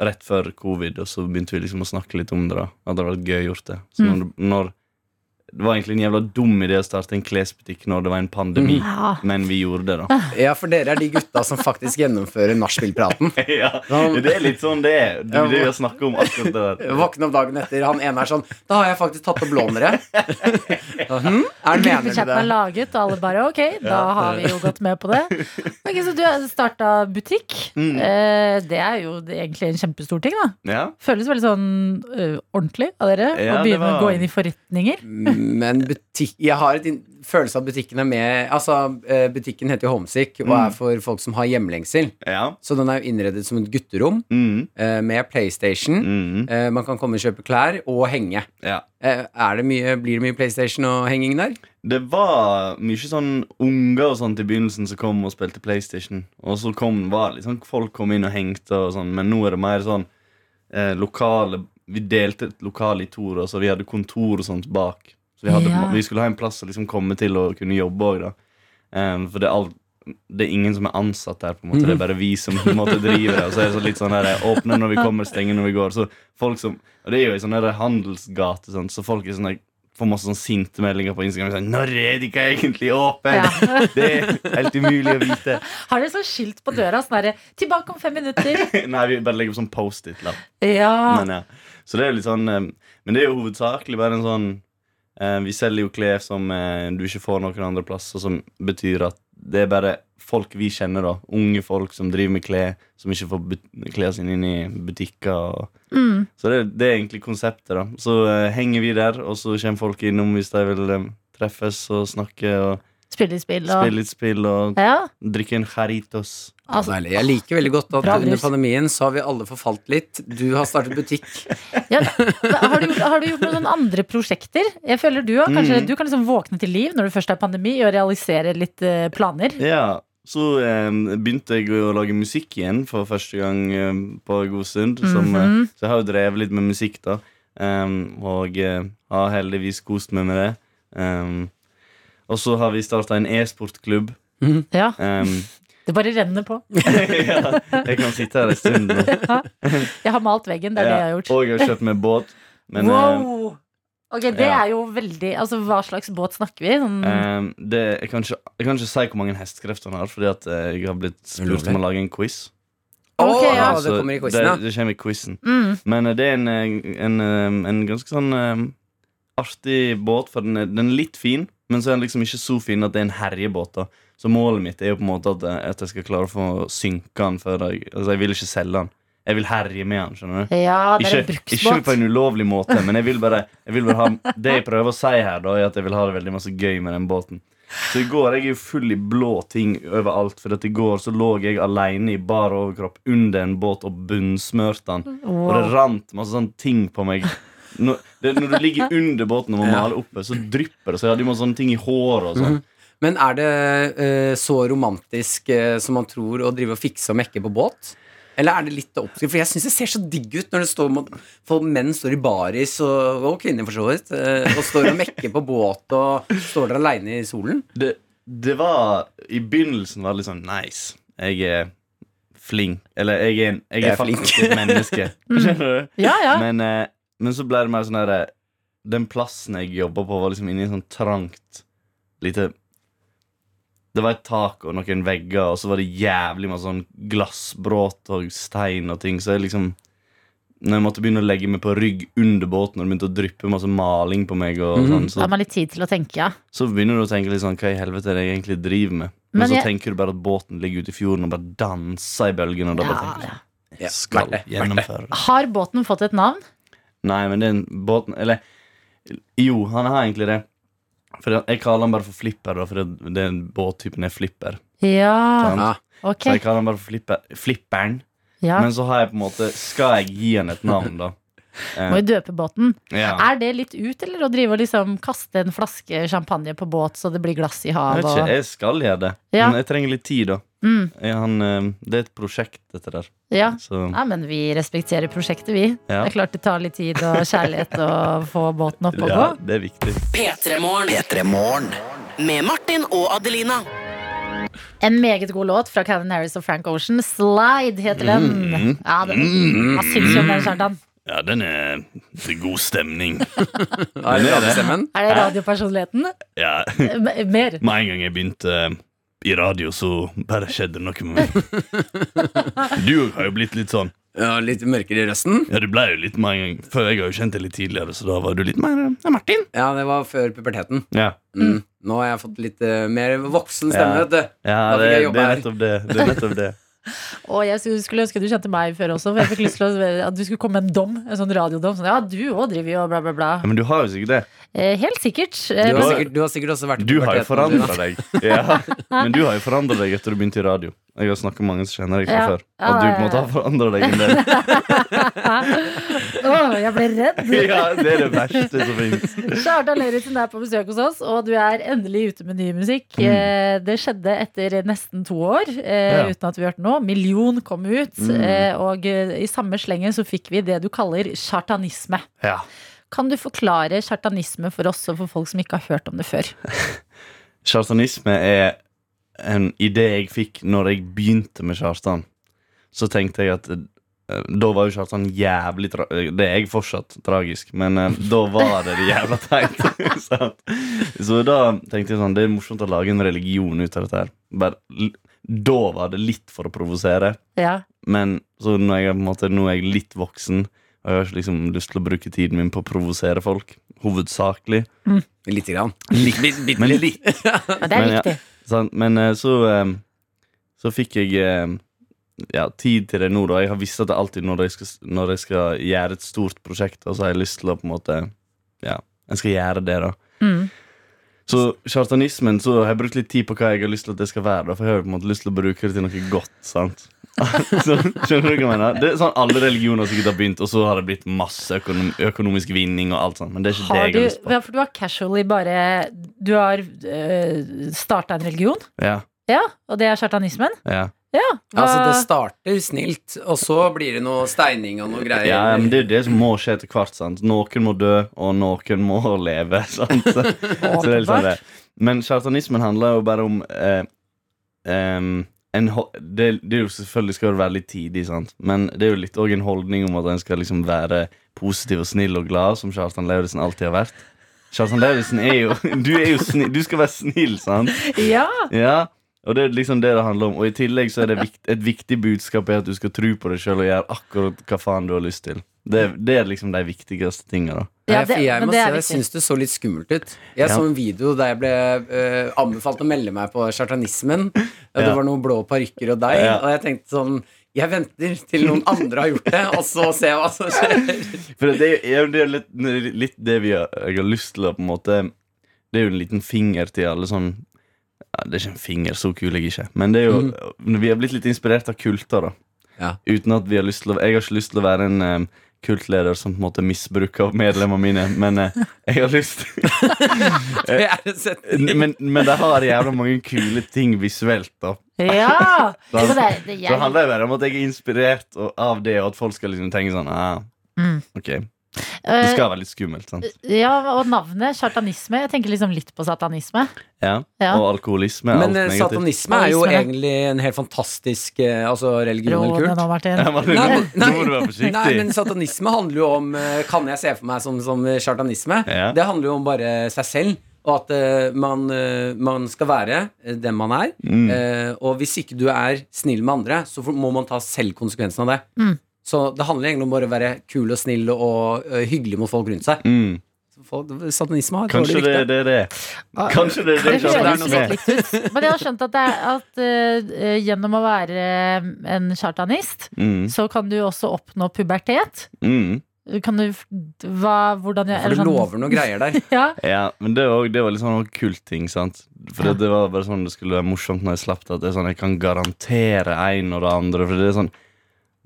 Speaker 6: rett før covid, og så begynte vi liksom å snakke litt om det. da At det hadde vært gøy å gjort det. Så når, når Det var egentlig en jævla dum idé å starte en klesbutikk når det var en pandemi,
Speaker 2: Ja.
Speaker 6: men vi gjorde det, da.
Speaker 3: Ja, for dere er de gutta som faktisk gjennomfører nachspiel-praten.
Speaker 6: (laughs) ja, det er litt sånn det er. Du
Speaker 3: Ja, men-
Speaker 6: driver og snakker om akkurat det der.
Speaker 3: Våkne opp dagen etter, han ene er sånn Da har jeg faktisk tatt opp (laughs) lånet. Hm? Er det mener
Speaker 2: Gruppechatten er
Speaker 3: du det?
Speaker 2: laget, og alle bare ok, da har vi jo gått med på det. Ok, Så du har starta butikk. Eh, Det er jo egentlig en kjempestor ting, da.
Speaker 6: Ja.
Speaker 2: Føles veldig sånn ø, ordentlig av dere
Speaker 6: Ja,
Speaker 2: å
Speaker 6: det
Speaker 2: begynne å
Speaker 6: var-
Speaker 2: gå inn i forretninger.
Speaker 3: Mm. Men butikk Jeg har et inn- følelse av at butikken er med Altså, eh, butikken heter jo Homesick og er for folk som har hjemlengsel.
Speaker 6: ja.
Speaker 3: Så den er jo innredet som et gutterom
Speaker 6: Mm.
Speaker 3: eh, med PlayStation.
Speaker 6: Mm.
Speaker 3: Eh, Man kan komme og kjøpe klær og henge.
Speaker 6: ja.
Speaker 3: Eh, Er det mye, blir det mye PlayStation og henging der?
Speaker 6: Det var mye sånn unger og sånt i begynnelsen som kom og spilte PlayStation. Og så kom, var det liksom folk kom inn og hengte og sånn, men nå er det mer sånn eh, lokale Vi delte et lokale i to, da, så vi hadde kontor og sånt bak. Så vi, hadde,
Speaker 2: Ja.
Speaker 6: vi skulle ha en plass å liksom komme til og kunne jobbe òg, da. Eh, for det er, alt, det er ingen som er ansatt der, på en måte. Det er bare vi som på en måte driver det. Og så er det så litt sånn her åpne når vi kommer, stenge når vi går. Så folk som, og det er jo ei sånn her handelsgate, sånn, så folk er sånn her får masse sånn sinte meldinger på Instagram. Sånn, 'Når er de ikke egentlig åpen?'
Speaker 2: Ja.
Speaker 6: Det er helt umulig å vite. (laughs)
Speaker 2: Har dere sånn skilt på døra sånn derre 'Tilbake om fem minutter'?
Speaker 6: (laughs) Nei, vi bare legger opp sånn Post-It-lapp.
Speaker 2: Ja.
Speaker 6: Men, ja. Så det er jo litt sånn eh, Men det er jo hovedsakelig bare en sånn eh, Vi selger jo klær som eh, du ikke får noen andre plass, og som betyr at det er bare folk vi kjenner, da. Unge folk som driver med klær, som ikke får but- klærne sine inn i butikker. Og.
Speaker 2: Mm.
Speaker 6: Så det, det er egentlig konseptet, da. Så eh, henger vi der, og så kommer folk innom hvis de vil eh, treffes og snakke og
Speaker 2: Spille litt spill og
Speaker 6: spille litt spill og
Speaker 2: Ja.
Speaker 6: drikke en charitos.
Speaker 2: Altså,
Speaker 3: Deilig. Jeg liker veldig godt at
Speaker 2: Bra
Speaker 3: under
Speaker 2: brus.
Speaker 3: pandemien så har vi alle forfalt litt. Du har startet butikk.
Speaker 2: ja, har, du gjort, har du gjort noen sånne andre prosjekter? Jeg føler Du har kanskje,
Speaker 6: Mhm.
Speaker 2: du kan liksom våkne til liv når det først er pandemi, og realisere litt eh, planer.
Speaker 6: Ja, så eh, begynte jeg å lage musikk igjen for første gang eh, på god stund. som, eh,
Speaker 2: Mhm.
Speaker 6: så jeg har jo drevet litt med musikk, da. em, og eh, har heldigvis kost meg med det. Em, og så har vi starta en e-sportklubb.
Speaker 2: Ja,
Speaker 6: Em,
Speaker 2: Det bare renner på.
Speaker 6: ja, jeg kan sitte her en
Speaker 2: (laughs)
Speaker 6: stund nå.
Speaker 2: Jeg har malt veggen, det er det jeg har gjort.
Speaker 6: Ja, og jeg har kjøpt meg båt. Men eh,
Speaker 2: wow! Ok, Det
Speaker 6: ja. Eh.
Speaker 2: er jo veldig Altså, hva slags båt snakker vi? Sånn,
Speaker 6: em, det, jeg, kan ikke, jeg kan ikke si hvor mange hestekrefter han har, fordi at eh, jeg har blitt spurt om å lage en quiz.
Speaker 2: (laughs) Ok,
Speaker 3: Åh,
Speaker 2: ja.
Speaker 3: Det
Speaker 6: Så
Speaker 3: kommer i quizen, ja.
Speaker 6: Det, det kommer i quizen.
Speaker 2: mm,
Speaker 6: Men eh, det er en, eh, en, eh, en ganske sånn eh, artig båt, for den er, den er litt fin, men så er den liksom ikke så fin at det er en herjebåt. da Så målet mitt er jo på en måte at, eh, at jeg skal klare å få synke den før jeg Altså, jeg vil ikke selge den. Jeg vil herje med den, skjønner du.
Speaker 2: ja, det er en
Speaker 6: Ikke, ikke
Speaker 2: bruksbåt.
Speaker 6: på en ulovlig måte, men jeg vil bare, jeg vil bare ha det jeg prøver å si her, da, er at jeg vil ha det veldig masse gøy med den båten. Så i går jeg er jo full i blå ting overalt, for at i går så lå jeg aleine i bar overkropp under en båt og bunnsmørte den. Og det
Speaker 2: Wow.
Speaker 6: rant masse sånne ting på meg. Når, det, når du ligger under båten og må male oppe, så drypper det. Så jeg hadde jo masse sånne ting i håret og sånn.
Speaker 3: Men er det eh, så romantisk eh, som man tror å drive og fikse og mekke på båt? Eller er det litt oppskrift? For jeg syns det ser så digg ut når det står for menn står i baris, og, og kvinner for så vidt, eh, og står og mekker på båt og står der aleine i solen.
Speaker 6: Det, det var I begynnelsen var det litt sånn nice. Jeg er flink. Eller jeg er, en, jeg er,
Speaker 3: Jeg er flink.
Speaker 6: faktisk et menneske. Skjønner du?
Speaker 2: Ja, ja.
Speaker 6: Men, eh, men så ble det mer sånn derre Den plassen jeg jobba på, var liksom inni en sånn trangt lite Det var et tak og noen vegger, og så var det jævlig masse sånn glassbråt og stein og ting, så jeg liksom Når jeg måtte begynne å legge meg på rygg under båten, og det begynte å dryppe masse maling på meg, og
Speaker 3: Mhm.
Speaker 6: sånn,
Speaker 2: Da
Speaker 6: så,
Speaker 2: har man litt tid til å tenke, ja.
Speaker 6: så begynner du å tenke litt sånn Hva i helvete er det jeg egentlig driver med? Men,
Speaker 2: Men
Speaker 6: så
Speaker 2: jeg-
Speaker 6: tenker du bare at båten ligger ute i fjorden og bare danser i bølgene, og da bare
Speaker 2: Ja,
Speaker 6: tenker du
Speaker 2: ja.
Speaker 6: sånn
Speaker 3: Ja,
Speaker 6: Jeg skal
Speaker 3: verdt det, verdt det.
Speaker 6: gjennomføre det.
Speaker 2: Har båten fått et navn?
Speaker 6: Nei, men det er en båten Eller jo, han har egentlig det. For jeg- jeg kaller han bare for Flipper, da, for det- den båttypen er Flipper.
Speaker 2: Ja,
Speaker 3: Ja.
Speaker 2: ok.
Speaker 6: Så jeg kaller han bare for flipper, Flipperen.
Speaker 2: Ja.
Speaker 6: Men så har jeg på en måte Skal jeg gi han et
Speaker 2: (laughs)
Speaker 6: navn, da?
Speaker 2: Må jo døpe båten.
Speaker 6: Ja.
Speaker 2: Er det litt ut, eller å drive og liksom kaste en flaske champagne på båt så det blir glass i
Speaker 6: Jeg
Speaker 2: havet?
Speaker 6: vet ikke,
Speaker 2: Og...
Speaker 6: jeg skal gjøre det.
Speaker 2: Ja.
Speaker 6: Men jeg trenger litt tid, da.
Speaker 2: Mm,
Speaker 6: Jeg, han, eh, det er et prosjekt, dette der.
Speaker 2: ja.
Speaker 6: Så
Speaker 2: Nei, men vi respekterer prosjektet, vi.
Speaker 6: Ja.
Speaker 2: Det er klart det tar litt tid og kjærlighet å
Speaker 6: (laughs)
Speaker 2: få båten opp og gå.
Speaker 6: ja, det er viktig.
Speaker 4: P3-morgen. Med Martin og Adelina.
Speaker 2: En meget god låt fra Calvin Harris og Frank Ocean. Slide heter den.
Speaker 6: Mm.
Speaker 2: Ja, den Hva syns du om den, Kjartan?
Speaker 6: Ja, den er Det er god stemning.
Speaker 3: Ja, er det radiostemmen?
Speaker 2: Er det radiopersonligheten?
Speaker 6: Ja.
Speaker 2: M- Mer.
Speaker 6: Med en gang jeg begynte eh, i radio, så bare skjedde det noe med meg. Du har jo blitt litt sånn.
Speaker 3: Ja, litt mørkere i røsten?
Speaker 6: Ja, du ble jo litt med en gang. Før jeg har jo kjent deg litt tidligere, så da var du litt mer eh, Martin.
Speaker 3: Ja, det var før puberteten.
Speaker 6: Ja,
Speaker 3: Mm. Nå har jeg fått litt eh, mer voksen stemme,
Speaker 6: Ja.
Speaker 3: vet du. Da fikk
Speaker 6: det,
Speaker 3: jeg jobbe
Speaker 6: det er
Speaker 3: her.
Speaker 6: nettopp det. det, er nettopp det.
Speaker 2: Og jeg skulle- skulle ønske du kjente meg før også, for jeg fikk lyst til å- at du skulle komme med en dom. En sånn radiodom. Sånn, ja, du òg driver jo og bla, bla, bla.
Speaker 6: Ja, men du har jo sikkert det.
Speaker 2: Eh, helt sikkert. Eh,
Speaker 3: Du har
Speaker 2: men-
Speaker 3: sikkert, du har sikkert også vært i
Speaker 6: Du har jo
Speaker 3: puberteten,
Speaker 6: forandra
Speaker 3: Adelina.
Speaker 6: deg. Ja. Men du har jo forandra deg etter du begynte i radio. Jeg har snakket med mange som kjenner deg fra
Speaker 2: Ja.
Speaker 6: før. At du på en måte har forandra deg en del.
Speaker 2: Åh, jeg ble redd.
Speaker 6: Ja, det er det verste som finnes.
Speaker 2: Kjartan Lauritzen er på besøk hos oss, og du er endelig ute med ny musikk. Eh, Det skjedde etter nesten to år, eh,
Speaker 6: Ja.
Speaker 2: uten at vi hørte noe. Million kom ut, eh, og eh, i samme slengen så fikk vi det du kaller kjartanisme.
Speaker 6: Ja.
Speaker 2: Kan du forklare kjartanisme for oss og for folk som ikke har hørt om det før?
Speaker 6: Chartanisme er en idé jeg fikk når jeg begynte med chartan. Så tenkte jeg at eh, Da var jo Kjartan jævlig tra eh, Det er jeg fortsatt tragisk, men eh, da var det det jævla teit. (laughs) sant? så da tenkte jeg sånn Det er morsomt å lage en religion ut av dette her. Bare, l- da var det litt for å provosere.
Speaker 2: Ja.
Speaker 6: Men så nå er jeg, på en måte, nå er jeg litt voksen, og jeg har ikke liksom lyst til å bruke tiden min på å provosere folk. Hovedsakelig.
Speaker 3: Lite grann.
Speaker 6: Men litt.
Speaker 2: Men det er
Speaker 6: Men ja.
Speaker 2: viktig.
Speaker 6: Sant? Men eh, så, eh, så fikk jeg eh, ja, tid til det nå, da. Jeg har visst at det alltid når jeg, skal, når jeg skal gjøre et stort prosjekt, og så har jeg lyst til å på en måte Ja, jeg skal gjøre det, da.
Speaker 2: Mm.
Speaker 6: Så chartanismen så har jeg brukt litt tid på hva jeg har lyst til at det skal være. Da, for jeg har jo på en måte lyst til å bruke det til noe godt. sant? (laughs) så, skjønner du hva jeg mener? Det er sånn Alle religioner sikkert har begynt, og så har det blitt masse økonom økonomisk vinning. og alt sånt, Men det er ikke det
Speaker 2: Har
Speaker 6: jeg
Speaker 2: du,
Speaker 6: har lyst på.
Speaker 2: ja, for du har casually bare Du har øh, starta en religion,
Speaker 6: Ja,
Speaker 2: ja, og det er chartanismen?
Speaker 6: ja.
Speaker 2: Ja.
Speaker 3: Ja, altså, det
Speaker 2: Hva,
Speaker 3: starter snilt, og så blir det noe steining og noe greier.
Speaker 6: ja, men Det er jo det som må skje etter hvert. sant? Noen må dø, og noen må (laughs) leve. sant? Så, så det er liksom det. Men chartanismen handler jo bare om eh, em, en, ho- det, det er jo selvfølgelig skal det være litt tidlig, sant? men det er jo litt òg en holdning om at en skal liksom være positiv og snill og glad, som Kjartan Lauritzen alltid har vært. Kjartan Lauritzen er jo (laughs) Du er jo snill, du skal være snill, sant?
Speaker 2: ja.
Speaker 6: Ja, og det er liksom det det handler om. Og i tillegg så er det vikt, et viktig budskap er at du skal tro på deg sjøl og gjøre akkurat hva faen du har lyst til. Det, det er liksom de viktigste tinga, da.
Speaker 2: ja
Speaker 3: Nei, for
Speaker 2: det,
Speaker 3: jeg
Speaker 2: men
Speaker 3: må
Speaker 2: det
Speaker 3: si,
Speaker 2: er
Speaker 3: jeg
Speaker 2: viktig.
Speaker 3: syns det så litt skummelt ut. Jeg så en video der jeg ble eh, anbefalt å melde meg på chartanismen.
Speaker 6: (laughs)
Speaker 3: Og det
Speaker 6: Ja.
Speaker 3: var noen blå parykker og deg.
Speaker 6: Ja.
Speaker 3: Og jeg tenkte sånn Jeg venter til noen andre har gjort det, og så ser jeg hva som
Speaker 2: (laughs)
Speaker 3: skjer.
Speaker 6: For det er jo det er jo litt, litt det vi har, jeg har lyst til å på en måte Det er jo en liten finger til alle sånn ja, Det er ikke en finger, så kul er jeg ikke. Men det er jo, vi har blitt litt inspirert av kulter, da.
Speaker 3: Ja.
Speaker 6: Uten at vi har lyst til å Jeg har ikke lyst til å være en em, kultleder som på en måte misbruker medlemmene mine, men eh, jeg har lyst
Speaker 3: Det er en setning.
Speaker 6: men, men de har jævla mange kule ting visuelt. da
Speaker 2: Ja! Jo, men det, er- det,
Speaker 6: Så det
Speaker 2: jeg,
Speaker 6: handler det bare om at jeg er inspirert og, av det, og at folk skal liksom tenke sånn ah,
Speaker 2: Mm.
Speaker 6: Ok, det
Speaker 2: øh,
Speaker 6: skal være litt skummelt. sant?
Speaker 2: ja, og navnet chartanisme. Jeg tenker liksom litt på satanisme.
Speaker 6: Ja.
Speaker 2: Ja.
Speaker 6: Og alkoholisme. er
Speaker 3: Men
Speaker 6: alt
Speaker 3: eh,
Speaker 6: negativt.
Speaker 3: satanisme er jo
Speaker 2: Satanisme, ja.
Speaker 3: egentlig en helt fantastisk eh, altså religion
Speaker 2: Rå
Speaker 3: eller
Speaker 2: det
Speaker 3: kult.
Speaker 2: nå, Martin.
Speaker 6: (laughs) Ja,
Speaker 3: Nei,
Speaker 6: (laughs) men, nå,
Speaker 3: nei.
Speaker 6: nå må du være forsiktig.
Speaker 3: Nei, men satanisme handler jo om eh, Kan jeg se for meg som, som chartanisme?
Speaker 6: Ja.
Speaker 3: Det handler jo om bare seg selv. Og at eh, man, eh, man skal være eh, den man er.
Speaker 6: Mm.
Speaker 3: Eh, og hvis ikke du er snill med andre, så får- må man ta selv konsekvensen av det.
Speaker 2: Mm.
Speaker 3: Så det handler egentlig om bare å være kul og snill og eh, hyggelig mot folk rundt seg.
Speaker 6: mm.
Speaker 3: Folk, satanisme har
Speaker 6: Kanskje
Speaker 3: dårlig
Speaker 6: det
Speaker 3: rykte.
Speaker 6: er det, det. er. Kanskje det er det
Speaker 2: Det høres
Speaker 6: satanisme
Speaker 2: litt
Speaker 6: er.
Speaker 2: likt ut. Men jeg har skjønt at, det er, at øh, øh, gjennom å være øh, en chartanist,
Speaker 6: Mm.
Speaker 2: så kan du også oppnå pubertet.
Speaker 6: Mm.
Speaker 2: Kan du f- hva, hvordan gjør
Speaker 3: For du lover noen greier
Speaker 2: (laughs)
Speaker 3: der.
Speaker 2: Ja.
Speaker 6: Ja, men det var, det var litt sånn kult ting, sant? For det, det var bare sånn det skulle være morsomt når jeg slapp det. At det er sånn, jeg kan garantere en og det andre. For det er sånn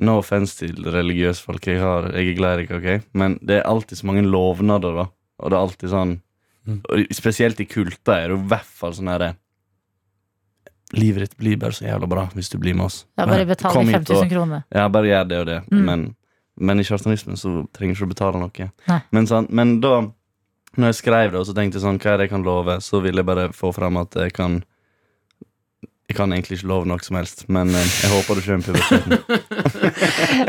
Speaker 6: No offense til religiøse folk. Jeg, har, jeg er glad i dere, ok? Men det er alltid så mange lovnader, da. Og det er alltid sånn
Speaker 2: Mm.
Speaker 6: og Spesielt i kulter er det jo i hvert fall sånn herre Livet ditt blir bare så jævla bra hvis du blir med oss.
Speaker 2: Ja, bare betal
Speaker 6: Kom
Speaker 2: de
Speaker 6: hit og-
Speaker 2: 5000 kroner.
Speaker 6: ja, bare gjør det og det.
Speaker 2: Mm.
Speaker 6: Men, men i chartanismen så trenger du ikke å betale noe.
Speaker 2: Nei.
Speaker 6: Men, sant? men da når jeg skrev det, og så tenkte jeg sånn, hva er det jeg kan love, så ville jeg bare få fram at jeg kan Jeg kan egentlig ikke love noe som helst, men eh, jeg håper du skjønner puberteten.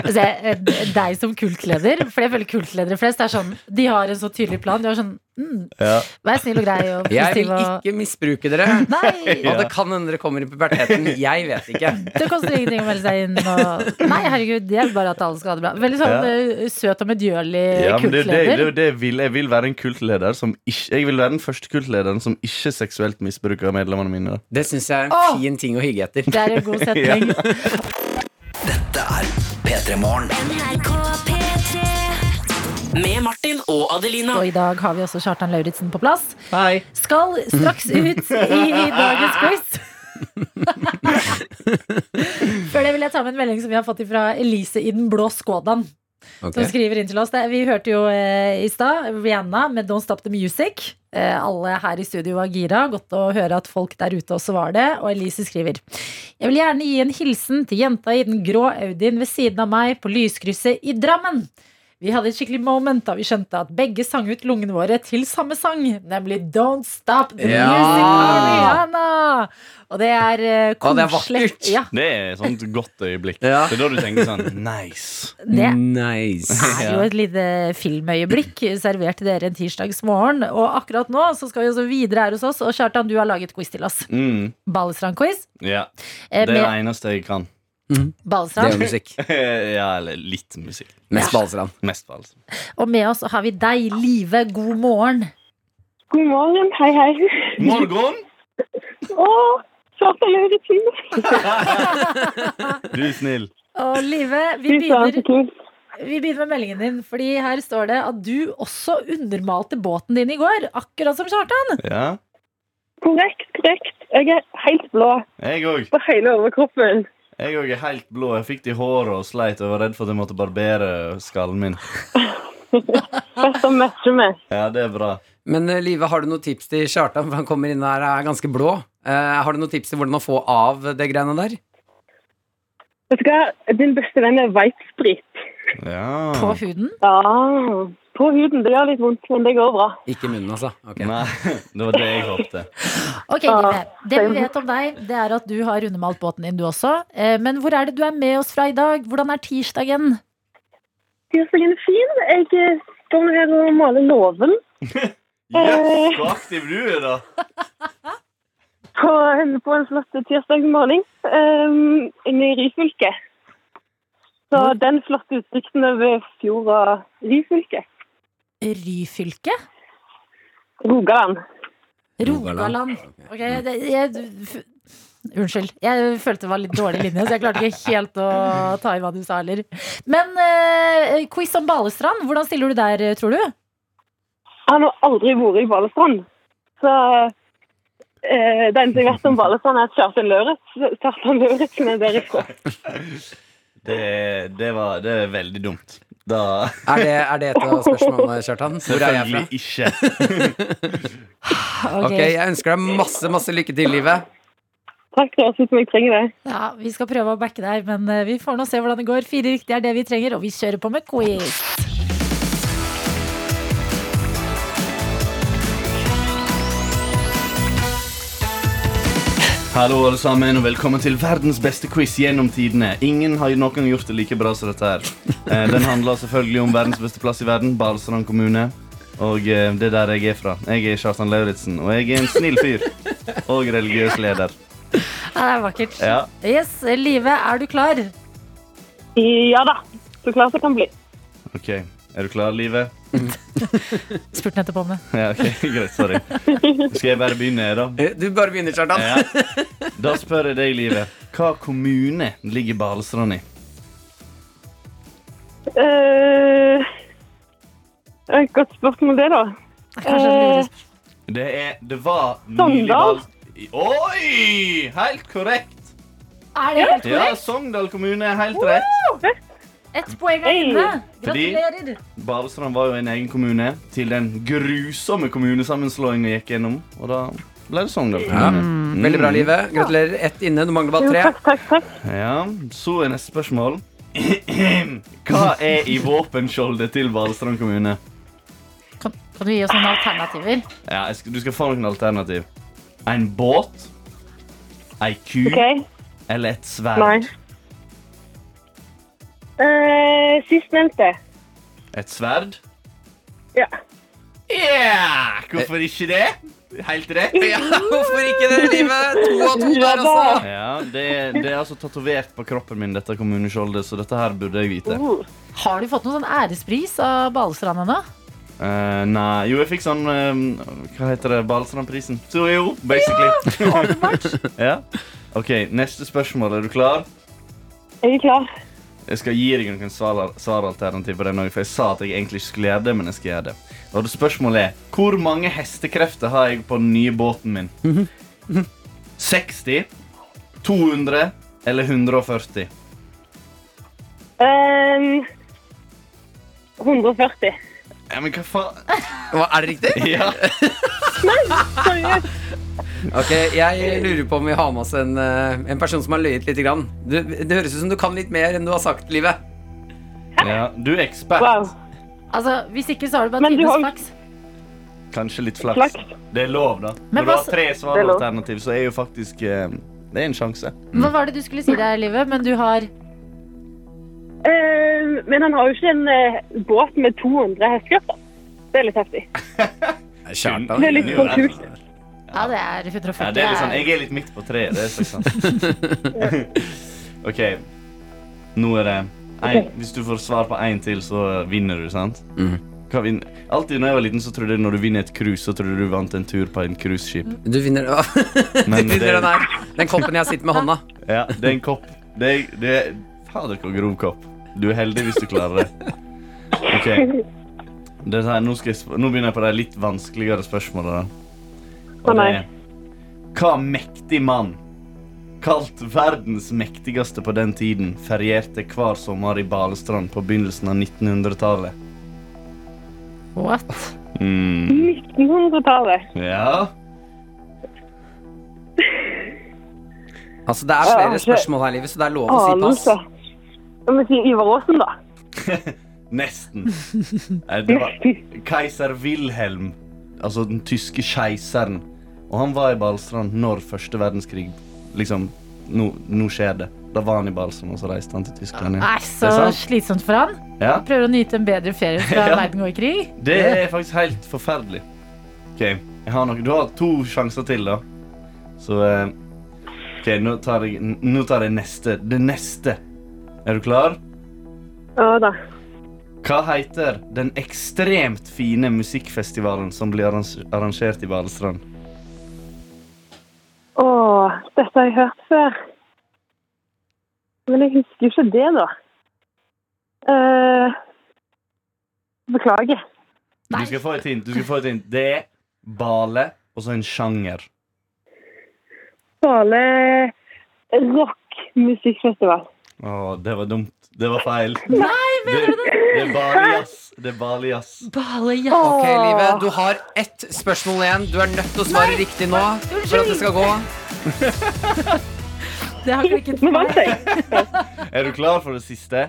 Speaker 2: Altså, jeg- eh, deg som kultleder, for jeg føler kultledere flest er sånn De har en så tydelig plan. De er sånn mm,
Speaker 6: (laughs) Ja.
Speaker 2: Vær snill og grei og
Speaker 3: Jeg
Speaker 2: positiv
Speaker 3: vil
Speaker 2: og
Speaker 3: ikke misbruke dere.
Speaker 6: (laughs)
Speaker 2: Nei!
Speaker 3: Og det kan hende dere kommer i puberteten. Jeg vet ikke.
Speaker 2: Det koster ingenting å melde seg inn og Nei, herregud, det er bare at alle skal ha det bra. Veldig sånn
Speaker 6: Ja.
Speaker 2: eh, søt og medgjørlig
Speaker 6: Ja, men det, er jo det, det, er
Speaker 2: kultleder.
Speaker 6: jo det jeg vil. Jeg vil være en kultleder som ikke Jeg vil være den første kultlederen som ikke seksuelt misbruker medlemmene mine.
Speaker 3: Det syns jeg er
Speaker 2: Åh!
Speaker 3: en fin ting å hygge etter.
Speaker 2: Det er en
Speaker 6: (laughs)
Speaker 2: god setning.
Speaker 4: NRK P3 Med Martin og Adelina
Speaker 2: Og i dag har vi også Kjartan Lauritzen på plass. Skal straks ut i dagens
Speaker 6: (laughs)
Speaker 2: quiz. Før det vil jeg ta med en melding som vi har fått fra Elise i den blå Skodaen. Som skriver inn til oss. Det- Vi hørte jo eh, i stad Rihanna med 'Don't Stop The Music'. Eh, alle her i studio var gira. Godt å høre at folk der ute også var det. Og Elise skriver Jeg vil gjerne gi en hilsen til jenta i den grå Audien ved siden av meg på lyskrysset i Drammen. Vi hadde et skikkelig moment da vi skjønte at begge sang ut lungene våre til samme sang, nemlig Don't Stop The
Speaker 3: Ja!
Speaker 2: Music av Rihanna. Og det er eh,
Speaker 3: Å, det er
Speaker 2: koselig.
Speaker 3: vakkert.
Speaker 2: Ja,
Speaker 6: Det er et sånt godt øyeblikk.
Speaker 3: Ja.
Speaker 6: Det er da du tenker sånn Nice.
Speaker 2: det
Speaker 3: Nice.
Speaker 2: er jo et lite filmøyeblikk servert til dere en tirsdagsmorgen. Og akkurat nå så skal vi også videre her hos oss, og Kjartan, du har laget quiz til oss.
Speaker 6: Mm.
Speaker 2: Balestrand-quiz.
Speaker 6: Ja.
Speaker 2: eh,
Speaker 6: Det er det
Speaker 2: Med
Speaker 6: eneste jeg kan.
Speaker 3: Det er
Speaker 2: Balestrand.
Speaker 3: jo musikk.
Speaker 6: (laughs) ja, eller litt musikk.
Speaker 3: (laughs) Mest Balestrand.
Speaker 6: Mest på alt.
Speaker 2: Og med oss har vi deg, Live. God morgen.
Speaker 7: God morgen. Hei, hei.
Speaker 6: Morgon!
Speaker 7: Å, klarte jeg gjøre ting.
Speaker 6: Du er snill.
Speaker 2: Og Live, vi
Speaker 7: Fy søren,
Speaker 2: begynner
Speaker 7: så kult.
Speaker 2: Vi begynner med meldingen din, fordi her står det at du også undermalte båten din i går. Akkurat som Kjartan.
Speaker 6: Ja.
Speaker 7: Korrekt, korrekt. Jeg er helt blå
Speaker 6: Jeg òg.
Speaker 7: på hele overkroppen.
Speaker 6: Jeg òg er helt blå. Jeg fikk det i håret og sleit og var redd for at jeg måtte barbere skallen min.
Speaker 7: Best å matche med.
Speaker 6: Ja, det er bra.
Speaker 3: Men eh, Live, har du noen tips til Kjartan? For han kommer inn her og er ganske blå. Eh, har du noen tips til hvordan å få av det greiene der?
Speaker 7: Vet du hva? Din beste venn er veitsprit.
Speaker 2: På
Speaker 6: Ja.
Speaker 2: huden.
Speaker 7: Ja, på huden. Det gjør litt vondt, men det går bra.
Speaker 3: Ikke i munnen, altså. Ok.
Speaker 6: Nei, (laughs) det var det jeg håpte.
Speaker 2: Ok,
Speaker 7: Ja,
Speaker 2: Live. Det vi
Speaker 7: same.
Speaker 2: vet om deg, det er at du har undermalt båten din, du også. Eh, Men hvor er det du er med oss fra i dag? Hvordan er tirsdagen?
Speaker 7: Tirsdagen er fin. Jeg eh, står her og maler låven
Speaker 6: Jøss, så aktiv du er, da.
Speaker 7: på en, på en flott tirsdagsmorgen um, inne i Ryfylke. Så den flotte utsikten over fjord og Ryfylke.
Speaker 2: Ryfylke?
Speaker 7: Rogaland.
Speaker 2: Rogaland. Ok, det, jeg, f Unnskyld. Jeg følte det var litt dårlig linje, så jeg klarte ikke helt å ta i hva du sa heller. Men eh, quiz om Balestrand. Hvordan stiller du der, tror du?
Speaker 7: Han har aldri vært i Balestrand. Så eh, det eneste jeg vet om Balestrand, er at Kjartan Lauritz- Kjartan Lauritzen er derifra.
Speaker 6: Det, det, var, det er veldig dumt. Da
Speaker 3: Er, det, er det et av spørsmålene, Kjartan? Hvor er jeg fra?
Speaker 6: Selvfølgelig ikke.
Speaker 2: Ok.
Speaker 3: Ok, Jeg ønsker deg masse, masse lykke til, Live.
Speaker 7: Takk, det høres ut som jeg trenger det.
Speaker 2: Ja, Vi skal prøve å backe deg, men eh, vi får nå se hvordan det går. Fire riktige er det vi trenger, og vi kjører på med quiz.
Speaker 6: Hallo, alle sammen, og velkommen til verdens beste quiz gjennom tidene. Ingen har noen gang gjort det like bra som dette her. Eh, Den handler selvfølgelig om verdens beste plass i verden, Balestrand kommune. Og eh, det er der jeg er fra. Jeg er Kjartan Lauritzen, og jeg er en snill fyr. Og religiøs leder.
Speaker 2: Ja, det er vakkert.
Speaker 6: Ja.
Speaker 2: Yes, Live, er du klar?
Speaker 7: Ja da. Så klart det kan bli.
Speaker 6: Ok, Er du klar, Live?
Speaker 2: Spurte nettopp om det.
Speaker 6: Ja, ok, (laughs) Greit, sorry. Skal jeg bare begynne, da?
Speaker 3: Eh, Du bare begynner, Kjartan.
Speaker 6: Ja. Da spør jeg deg, Live. Hva kommune ligger Balestrand i?
Speaker 7: Eh, det er et godt spørsmål, det, da.
Speaker 2: Kanskje det lurer.
Speaker 6: Det er Det var nylig
Speaker 7: Sogndal.
Speaker 6: Bal- Oi! Helt korrekt.
Speaker 2: Eh, Er det helt
Speaker 6: Ja,
Speaker 2: korrekt?
Speaker 6: Sogndal kommune er helt rett.
Speaker 2: Ett poeng er inne.
Speaker 6: Fordi-
Speaker 2: Gratulerer.
Speaker 6: Balestrand var jo en egen kommune til den grusomme kommunesammenslåingen gikk gjennom. Og da ble det Sogndal
Speaker 3: Ja. Mm.
Speaker 6: kommune.
Speaker 3: (laughs)
Speaker 6: Mm.
Speaker 3: Veldig bra, Live. Gratulerer. Ett inne. Du mangler
Speaker 7: Jo,
Speaker 3: bare tre.
Speaker 7: takk, takk, takk.
Speaker 6: Ja, Så er neste spørsmål. (clears throat) Hva er i våpenskjoldet til Balestrand kommune?
Speaker 2: Kan, kan du gi oss noen alternativer?
Speaker 6: Ja, jeg skal, Du skal få noen alternativ. En båt, ei ku
Speaker 7: OK.
Speaker 6: eller et sverd?
Speaker 7: Nei. Uh, Sistnevnte.
Speaker 6: Et sverd?
Speaker 7: Ja.
Speaker 6: Ja! Hvorfor ikke det? Helt
Speaker 7: (laughs)
Speaker 6: rett.
Speaker 3: Ja, hvorfor ikke det, Live? To og to der, altså.
Speaker 6: Ja, det, det er altså tatovert på kroppen min, dette kommuneskjoldet, så dette her burde jeg vite.
Speaker 7: Uh,
Speaker 2: Har du fått noen sånn ærespris av Balestrand ennå?
Speaker 6: Eh, nei Jo, jeg fikk sånn eh, Hva heter det? Balestrandprisen. Så jo, basically. (laughs) Ja. OK, neste spørsmål. Er du klar?
Speaker 7: jeg er klar.
Speaker 6: Jeg skal gi deg noen svar- svaralternativ på den òg, for jeg sa at jeg egentlig ikke skulle gjøre det, men jeg skal gjøre det. Og det spørsmålet er Hvor mange hestekrefter har jeg på den nye båten min? 60, 200 eller 140?
Speaker 7: Eh, 140.
Speaker 6: Ja, men hva faen
Speaker 3: Hva, er det riktig?
Speaker 6: Ja.
Speaker 7: Seriøst.
Speaker 3: Ok, Jeg lurer på om vi har med oss en, eh, en person som har løyet lite grann. Du, det høres ut som du kan litt mer enn du har sagt, Live.
Speaker 6: ja. Du er ekspert.
Speaker 7: Wow.
Speaker 2: Altså, Hvis ikke, så har du bare
Speaker 7: Men du har
Speaker 2: tidenes
Speaker 7: jo-
Speaker 2: flaks.
Speaker 6: Kanskje litt flaks.
Speaker 7: Flaks.
Speaker 6: Det er lov, da.
Speaker 2: Men
Speaker 6: Når du
Speaker 2: hva
Speaker 6: har
Speaker 2: s-
Speaker 6: tre
Speaker 7: Det er lov.
Speaker 6: svaralternativ, så er jo faktisk eh, Det er en sjanse.
Speaker 2: Hva var det du skulle
Speaker 7: Mm.
Speaker 2: si der, Live? Men du har
Speaker 7: Eh, men han har jo ikke en eh, båt med 200 hestekrefter. Det er litt heftig.
Speaker 6: Kjartan
Speaker 7: Det er litt for kult.
Speaker 2: Ja, det er 140.
Speaker 6: Ja, det er litt sånn, jeg er litt midt på treet. Det er så (laughs) sant. OK. Nå er det en, Hvis du får svar på én til, så vinner du, sant?
Speaker 3: Mhm.
Speaker 6: Hva vin- Alltid når jeg var liten, så trodde jeg når du vinner et cruise, så trodde du vant en tur på en cruiseskip.
Speaker 3: (laughs) Du vinner,
Speaker 6: Men
Speaker 3: du vinner
Speaker 6: det-
Speaker 3: den her. Den koppen jeg sitter med hånda.
Speaker 6: Ja, det er en kopp. Det er, det er Fader, hvor grov kopp. Du er heldig hvis du klarer det. OK. Det sånn her, nå, skal jeg, sp- nå begynner jeg på de litt vanskeligere spørsmålene.
Speaker 7: Å, nei.
Speaker 6: Hva mektig mann, kalt verdens mektigste på den tiden, ferierte hver sommer i Balestrand på begynnelsen av 1900-tallet?
Speaker 2: What?
Speaker 6: Mm.
Speaker 7: 1900-tallet.
Speaker 6: Ja
Speaker 3: Altså, det er
Speaker 7: Ja,
Speaker 3: flere
Speaker 7: ok.
Speaker 3: spørsmål her i livet, så det er lov å si pass.
Speaker 7: Anelse. Om vi sier Ivar Aasen, da.
Speaker 6: Nesten. Nei, Det var keiser Wilhelm, altså den tyske keiseren. Og han var i Balestrand når første verdenskrig Liksom, nå, nå skjer det. Da var han i Balestrand, og så reiste han til Tyskland igjen.
Speaker 2: Nei, så
Speaker 6: Det er sant.
Speaker 2: slitsomt for han.
Speaker 6: Ja,
Speaker 2: Prøver å nyte en bedre ferie fra
Speaker 6: (laughs) Ja.
Speaker 2: verden går i krig.
Speaker 6: det er faktisk helt forferdelig. OK, jeg har nok, du har to sjanser til, da. Så eh, OK, nå tar jeg, n- nå tar jeg neste. Det neste. Er du klar?
Speaker 7: Ja da.
Speaker 6: Hva heter den ekstremt fine musikkfestivalen som blir arrange- arrangert i Balestrand?
Speaker 7: Å, dette har jeg hørt før. Men jeg husker jo ikke det, da. Eh, beklager.
Speaker 6: Du skal få et hint. du skal få et hint. Det er bale og så en sjanger.
Speaker 7: Bale rockmusikkfestival.
Speaker 6: Å, det var dumt. Det var feil. Nei, mener du det? Det er bale jazz. Det er bale jazz.
Speaker 3: Ok, Live, du har ett spørsmål igjen. Du er nødt til å svare riktig nå for at det skal gå.
Speaker 2: Det har klikket
Speaker 7: Nå vant jeg.
Speaker 6: Er du klar for det siste?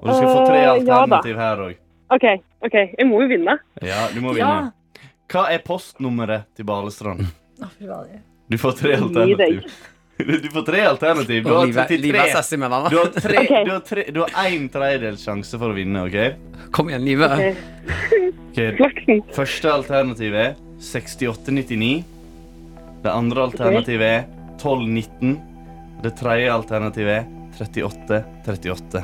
Speaker 6: Og du skal få tre
Speaker 7: Eh, ja da.
Speaker 6: alternativ her òg.
Speaker 7: OK, ok, jeg må jo vinne.
Speaker 6: Ja, du
Speaker 2: Ja.
Speaker 6: må vinne. Hva er postnummeret til Balestrand?
Speaker 2: Å, fy fader.
Speaker 6: Du får tre
Speaker 7: Gi deg.
Speaker 6: alternativ. Du får tre alternativ. Du
Speaker 3: Og
Speaker 6: har
Speaker 3: Live,
Speaker 6: til
Speaker 3: Live er
Speaker 6: tre.
Speaker 3: sassy med deg
Speaker 6: Du
Speaker 3: nå.
Speaker 6: har, tre,
Speaker 7: Ok.
Speaker 6: du har, tre, du har en tredjedel sjanse for å vinne, OK?
Speaker 3: (laughs) Kom igjen, Live.
Speaker 7: Ok.
Speaker 6: Ok,
Speaker 7: Eh, Flaksen.
Speaker 6: Første alternativ er 68,99. Det andre alternativet er 12,19. Det tredje alternativet er 38,38.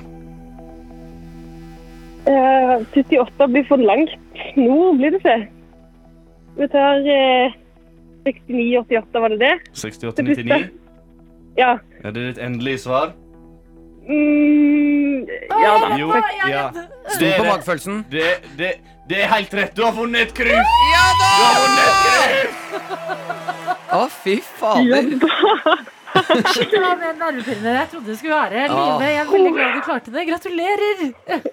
Speaker 7: Eh, 78 blir for langt. Nå blir det ikke. Vi tar eh, 69-88, var det det?
Speaker 6: 68,99.
Speaker 7: Ja.
Speaker 6: Er det ditt endelige svar?
Speaker 7: Mm, ja da.
Speaker 6: Jo. Ja. Det
Speaker 3: Stol
Speaker 6: er
Speaker 3: på
Speaker 6: det.
Speaker 3: magefølelsen.
Speaker 6: Det, det, det er helt rett. Du har vunnet et krus! Du har vunnet et krus!
Speaker 3: Å, fy fader.
Speaker 2: Det var mer nervepirrende enn jeg trodde det skulle være.
Speaker 3: Ah.
Speaker 2: Live, jeg er veldig glad du klarte det. Gratulerer!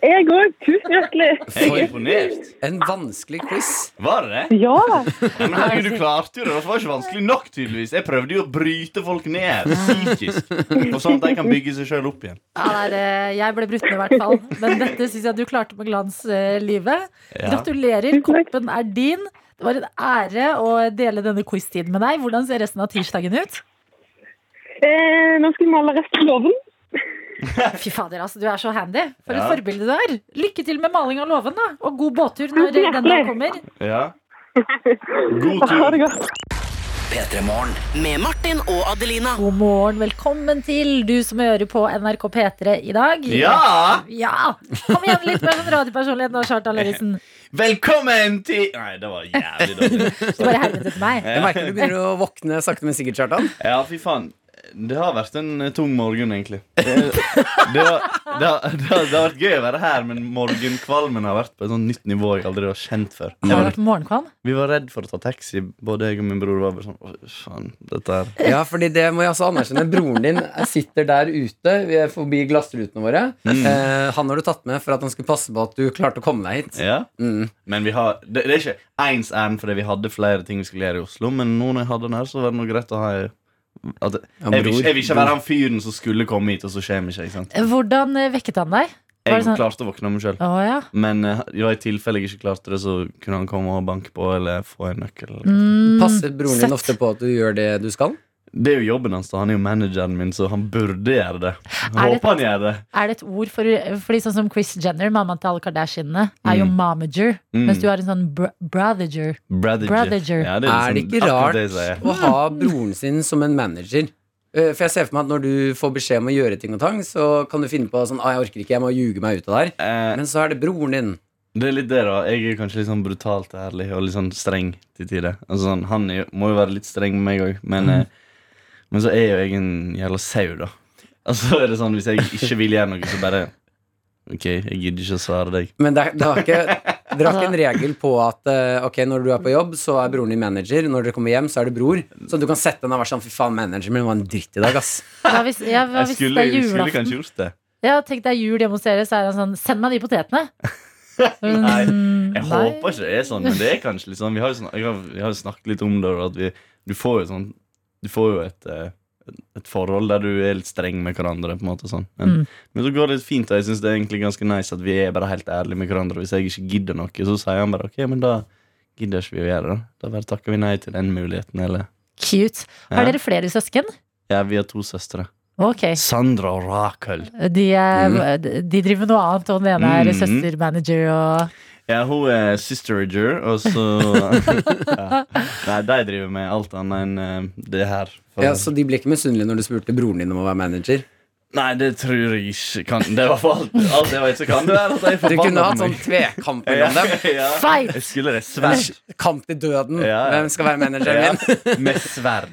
Speaker 7: Jeg òg. Tusen hjertelig.
Speaker 6: Jeg er imponert.
Speaker 3: En vanskelig quiz.
Speaker 6: Var det det?
Speaker 7: Ja.
Speaker 6: Men herregud, du klarte jo det. Det var ikke vanskelig nok, tydeligvis. Jeg prøvde jo å bryte folk ned psykisk.
Speaker 7: (laughs)
Speaker 6: Og sånn at de kan bygge seg sjøl opp igjen.
Speaker 2: Ja, nei, det- eh, jeg ble brutt ned i hvert fall. Men dette syns jeg du klarte med glans, eh, Live. Gratulerer.
Speaker 7: takk.
Speaker 2: Koppen er din. Det var en ære å dele denne quiz-tiden med deg. Hvordan ser resten av tirsdagen ut?
Speaker 7: Eh, nå skal vi male resten av låven.
Speaker 2: Fy fader, altså, du er så handy. For
Speaker 6: Ja.
Speaker 2: et forbilde du er. Lykke til med maling av låven, da. Og god båttur når den dag kommer.
Speaker 7: (laughs)
Speaker 6: Ja. God
Speaker 7: Ha
Speaker 6: tur.
Speaker 7: det godt.
Speaker 4: Med Martin og Adelina.
Speaker 2: God morgen. Velkommen til du som hører på NRK P3 i dag.
Speaker 3: (laughs)
Speaker 6: Ja!
Speaker 2: Ja! Kom igjen, litt mer sånn radiopersonlighet nå, Kjartan Lauritzen.
Speaker 6: Velkommen til Nei, det var jævlig
Speaker 3: (laughs)
Speaker 6: dårlig.
Speaker 2: Du bare helvete til meg.
Speaker 3: Jeg merker du begynner å våkne sakte, men sikkert, Kjartan.
Speaker 6: Ja, fy faen. Det har vært en eh, tung morgen,
Speaker 3: (laughs)
Speaker 6: egentlig. Det, det, har, det, har, det, har, det har vært gøy å være her, men morgenkvalmen har vært på et sånt nytt nivå jeg aldri har kjent før.
Speaker 2: Har du vært morgenkvalm?
Speaker 6: Vi var redd for å ta taxi, både jeg og min bror. var bare sånn, «Å, faen, dette her
Speaker 3: Ja, fordi det må jeg også anerkjenne. Broren din sitter der ute vi er forbi glassrutene våre. Eh, han har du tatt med for at han skulle passe på at du klarte å komme deg hit.
Speaker 6: Ja.
Speaker 3: Mm.
Speaker 6: Men vi har, det, det er ikke ens ærend fordi vi hadde flere ting vi skulle gjøre i Oslo. Men nå når jeg hadde den her, så var det noe greit å ha at, jeg,
Speaker 3: Ja,
Speaker 6: vil, ikke-
Speaker 3: bror.
Speaker 6: jeg vil ikke være han fyren som skulle komme hit, og så kommer ikke. ikke sant?
Speaker 2: Hvordan eh, vekket han deg? Var
Speaker 6: Jeg
Speaker 2: det sånn-
Speaker 6: klarte å våkne av meg sjøl.
Speaker 2: Å ja.
Speaker 6: Men eh, ja, i tilfelle jeg ikke klarte det, så kunne han komme og banke på eller få en nøkkel.
Speaker 2: Mm,
Speaker 3: Passer broren
Speaker 2: søtt.
Speaker 3: din ofte på at du gjør det du skal?
Speaker 6: Det er jo jobben hans, da. Han er jo manageren min, så han burde gjøre det. Jeg
Speaker 2: Er det-
Speaker 6: Håper han gjør det.
Speaker 2: Er det et ord for Fordi sånn som Chris Jenner, mammaen til alle Kardashianene, er jo momager.
Speaker 6: Mm.
Speaker 2: Mens du har en sånn br brothager.
Speaker 6: Brother.
Speaker 2: Brother.
Speaker 6: Ja, det er,
Speaker 3: Er det
Speaker 6: liksom
Speaker 3: ikke
Speaker 6: akkurat det jeg
Speaker 3: rart
Speaker 6: sier.
Speaker 3: å ha broren sin som en manager? Eh, For jeg ser for meg at når du får beskjed om å gjøre ting og tang, så kan du finne på sånn ah, 'Jeg orker ikke, jeg må ljuge meg ut av det her'.
Speaker 6: Eh,
Speaker 3: Men så er det broren din.
Speaker 6: Det er litt det, da. Jeg er kanskje litt sånn brutalt ærlig og litt sånn streng til tider. Altså, sånn, han er, jo- må jo være litt streng med meg òg, men,
Speaker 2: Mm.
Speaker 6: eh, men så er jo jeg en jævla sau, da. (laughs) Altså er det sånn, Hvis jeg ikke vil gjøre noe, så bare OK, jeg gidder ikke å svare deg.
Speaker 3: Men det, er- det har ikke, dere har ikke en regel på at eh, Ok, når du er på jobb, så er broren din manager. Når dere kommer hjem, så er det bror. Så du kan sette den og være sånn 'fy faen, manageren min var en dritt i dag', ass.
Speaker 2: Hva hvis, ja, hva
Speaker 6: Jeg
Speaker 2: hvis
Speaker 6: skulle,
Speaker 2: det er
Speaker 6: jeg skulle
Speaker 2: julaften?
Speaker 6: kanskje gjort det.
Speaker 2: Ja, tenk deg jul hjemme hos dere, så er han sånn Send meg de potetene!
Speaker 6: (laughs) Nei,
Speaker 2: Mm,
Speaker 6: Jeg
Speaker 2: nei.
Speaker 6: håper ikke det er sånn, men det er kanskje litt sånn. Vi har jo, snak, jeg har, vi har jo snakket litt om det, og at vi, du får jo sånn Du får jo et, eh, et forhold der du er litt streng med hverandre, på en måte. og Sånn. Men,
Speaker 2: Mm.
Speaker 6: men så går det litt fint, og jeg syns det er egentlig ganske nice at vi er bare helt ærlige med hverandre. Hvis jeg ikke gidder noe, så sier han bare OK, men da gidder ikke vi å gjøre det. Da bare takker vi nei til den muligheten, eller
Speaker 2: Cute. Har
Speaker 6: Ja.
Speaker 2: dere flere søsken?
Speaker 6: Ja, vi har to søstre.
Speaker 2: Ok.
Speaker 6: Sandra og Rakel.
Speaker 2: De, er, de driver med noe annet, og den ene er
Speaker 6: Mm.
Speaker 2: søstermanager og
Speaker 6: Ja, hun er sisterager,
Speaker 2: (laughs)
Speaker 6: og så ja. Nei, de driver med alt annet enn eh, det her. for-
Speaker 3: Ja, Så de ble ikke misunnelige når du spurte broren din om å være manager?
Speaker 6: Nei, det tror jeg ikke kan Det var for alt, alt jeg vet, så kan det være at jeg er
Speaker 3: Du kunne
Speaker 6: forbanna
Speaker 3: hatt
Speaker 6: på
Speaker 3: sånn
Speaker 6: meg.
Speaker 3: tvekamp
Speaker 6: Ja,
Speaker 3: mellom (laughs) dem.
Speaker 6: (laughs) ja.
Speaker 2: Fight!
Speaker 6: Jeg skulle det sverd.
Speaker 3: Kamp til døden.
Speaker 6: Ja, ja.
Speaker 3: Hvem skal være manageren
Speaker 6: Ja,
Speaker 3: min?
Speaker 6: med sverd.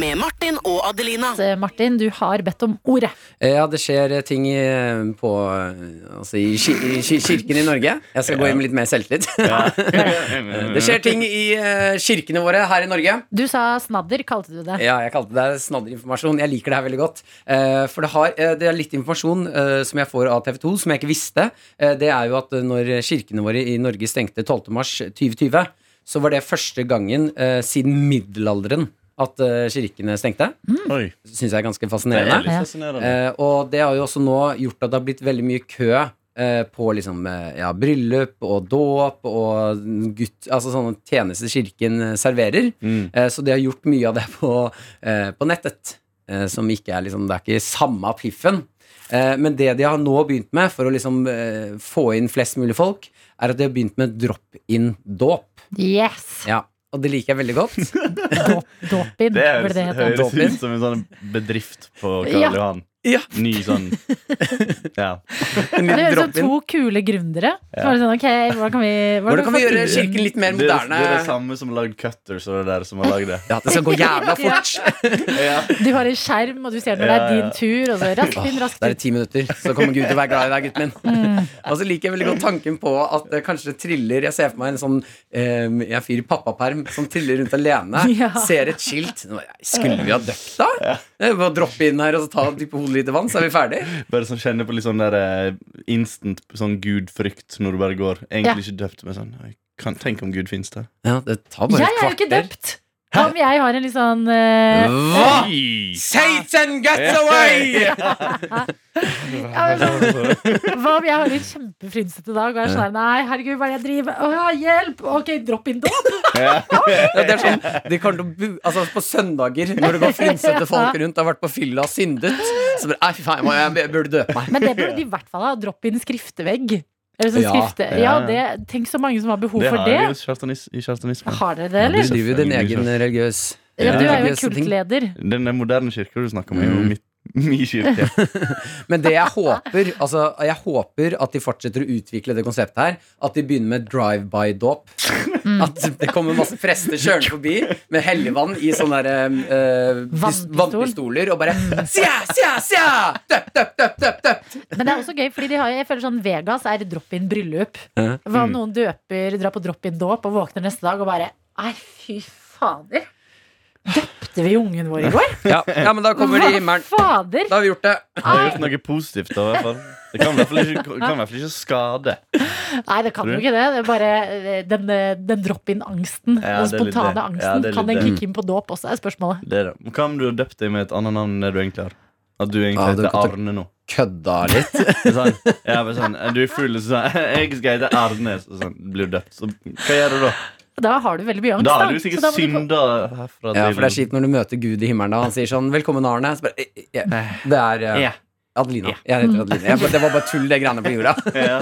Speaker 4: Med Martin og Adelina.
Speaker 2: Eh, Martin, du har bedt om ordet.
Speaker 3: (laughs) Ja, det skjer eh, ting i- på eh, Altså i, ki i ki kirken i Norge. Jeg skal gå inn med litt mer selvtillit. (laughs)
Speaker 6: Ja.
Speaker 3: Det skjer ting i eh, kirkene våre her i Norge.
Speaker 2: Du sa snadder, kalte du det.
Speaker 3: Ja, jeg kalte det snadderinformasjon. Jeg liker det her veldig godt. Eh, for det, har, eh, det er litt informasjon eh, som jeg får av TV 2, som jeg ikke visste. Eh, det er jo at eh, når kirkene våre i Norge stengte 12.3.2020, så var det første gangen eh, siden middelalderen at eh, kirkene stengte.
Speaker 6: Oi,
Speaker 3: Syns jeg er ganske
Speaker 6: det
Speaker 3: fascinerende.
Speaker 6: er litt fascinerende.
Speaker 3: Eh, og det har jo også nå gjort at det har blitt veldig mye kø eh, på liksom, eh, ja, bryllup og dåp og gutt, altså sånne tjenester kirken eh, serverer.
Speaker 6: Mm.
Speaker 3: Eh, så de har gjort mye av det på, eh, på nettet. Eh, som ikke er liksom, Det er ikke samme piffen. Eh, men det de har nå begynt med for å liksom, eh, få inn flest mulig folk, er at de har begynt med drop-in-dåp.
Speaker 2: Yes!
Speaker 3: Ja, og det liker jeg veldig godt.
Speaker 2: Dåp- Dåpin,
Speaker 6: Det
Speaker 2: burde det
Speaker 6: høres,
Speaker 2: hete.
Speaker 6: høres
Speaker 3: Doping.
Speaker 6: ut som en sånn bedrift på Karl
Speaker 2: Ja.
Speaker 6: Johan.
Speaker 3: Ja.
Speaker 6: Ny sånn
Speaker 2: (laughs)
Speaker 6: Ja.
Speaker 3: En
Speaker 2: Det
Speaker 3: liten
Speaker 2: høres ut som sånn
Speaker 3: drop-in.
Speaker 2: to kule gründere. Så var det sånn, ok, hvordan kan vi,
Speaker 3: Hvordan kan vi gjøre
Speaker 2: få-
Speaker 3: kirken litt mer
Speaker 6: Det er det, er det
Speaker 3: moderne?
Speaker 6: samme som har lagd Cutters og det der som har lagd det.
Speaker 3: Ja, det skal gå jævla fort.
Speaker 6: Ja.
Speaker 2: Du har en skjerm, og du ser når det
Speaker 6: Ja,
Speaker 2: er
Speaker 6: ja.
Speaker 2: din tur, og så
Speaker 6: (laughs)
Speaker 2: raskt inn, raskt
Speaker 3: Det
Speaker 2: ut.
Speaker 3: er i ti minutter, så kommer Gud til å være glad i deg, gutten min. Og så liker jeg veldig godt tanken på at det kanskje triller Jeg ser for meg en sånn eh, Jeg fyr i pappaperm som triller rundt alene,
Speaker 2: Ja.
Speaker 3: ser et skilt Nå, Skulle vi ha døkt, da? Det er Bare å droppe inn her og så ta og dyppe hodet litt i vann, så er vi ferdig.
Speaker 6: Bare sånn kjenne på litt sånn der eh, instant sånn gudfrykt når du bare går. Egentlig ikke døpt, men sånn «Oi, kan, Tenk om Gud fins der.
Speaker 3: Ja, det tar bare
Speaker 2: Jeg
Speaker 3: et
Speaker 2: er jo ikke
Speaker 3: kvarter.
Speaker 2: døpt! Hva om jeg har en litt sånn eh,
Speaker 3: Hva?
Speaker 6: Oi!
Speaker 3: Satan gets away!
Speaker 2: ja, men sånn- (laughs) Hva om jeg har en kjempefrynsete dag og er sånn her, Nei, herregud, hva er det jeg driver med? Åh, Hjelp! Ok, dropp inn dåp!
Speaker 3: Ja, det er sånn, de kommer til å bu altså, På søndager, når det går frynsete folk rundt og har vært på fylla og syndet, så bare Nei, fy faen, jeg, må, jeg burde døpe meg.
Speaker 2: Men det burde de i hvert fall ha. Drop in skriftevegg. Eller sånn
Speaker 3: Ja,
Speaker 2: skrifte...
Speaker 6: ja,
Speaker 2: Ja,
Speaker 6: ja.
Speaker 2: det, tenk så mange som har behov
Speaker 6: Det
Speaker 2: for
Speaker 6: har
Speaker 2: det.
Speaker 6: vi jo chartanis- i chartanismen.
Speaker 2: Har dere det,
Speaker 3: Du
Speaker 2: eller?
Speaker 3: driver jo din egen religiøs
Speaker 2: Ja, du er jo
Speaker 3: religiøse ting.
Speaker 2: kultleder.
Speaker 6: Den der moderne kirka du snakker om, er jo (laughs) mitt- min kirke.
Speaker 3: Men det jeg håper (laughs) Altså, jeg håper at de fortsetter å utvikle det konseptet her. At de begynner med drive-by-dåp.
Speaker 2: Mm.
Speaker 3: At det kommer masse prester kjørende forbi med helligvann i sånne der, eh, pis-
Speaker 2: Vannpistol. Mm.
Speaker 3: vannpistoler og bare (laughs) Sja, sja, sja! Døpt, døpt, døpt, døpt! døpt.
Speaker 2: Men det er også gøy, fordi de har, jeg føler sånn Vegas er drop-in bryllup. Hva om noen døper, drar på drop-in dåp og våkner neste dag og bare Nei, fy fader. Døpte vi ungen vår i går?
Speaker 3: Ja. ja, men da kommer de i
Speaker 2: Hva
Speaker 3: himmelen.
Speaker 2: fader?
Speaker 3: Da har vi gjort det.
Speaker 6: Jeg har gjort noe positivt, da. i hvert fall. Det kan i hvert fall ikke, kan i hvert fall ikke skade.
Speaker 2: Nei, det kan jo ikke det. det er bare eh, den, eh, den drop-in-angsten. den
Speaker 6: Ja, det er litt
Speaker 2: spontane
Speaker 6: det. Ja,
Speaker 2: angsten.
Speaker 6: det er
Speaker 2: kan
Speaker 6: litt
Speaker 2: den
Speaker 6: det.
Speaker 2: kicke inn på dåp også, er spørsmålet.
Speaker 6: Det er det. Men Hva om du har døpt deg med et annet navn enn det du egentlig har? At du egentlig
Speaker 3: Ja, du
Speaker 6: heter
Speaker 3: kan ta-
Speaker 6: Arne nå.
Speaker 3: kødda litt.
Speaker 6: Det er Sånn, ja, men sånn, er du er full, så sånn, (laughs) jeg skal hete Arnes. Og sånn, blir du døpt. Så hva gjør du da?
Speaker 2: Da har du veldig mye angst.
Speaker 6: Da er
Speaker 2: da.
Speaker 6: du sikkert
Speaker 2: Så da må du-
Speaker 6: synda herfra
Speaker 3: Ja, for det er kjipt når du møter Gud i himmelen. Da. Han sier sånn 'Velkommen, Arne'. Så bare, eh, eh, det er eh,
Speaker 5: Ja.
Speaker 3: Adelina. Jeg heter Adelina. Jeg, bare- det var bare tull, det greiene på jorda.
Speaker 6: Ja,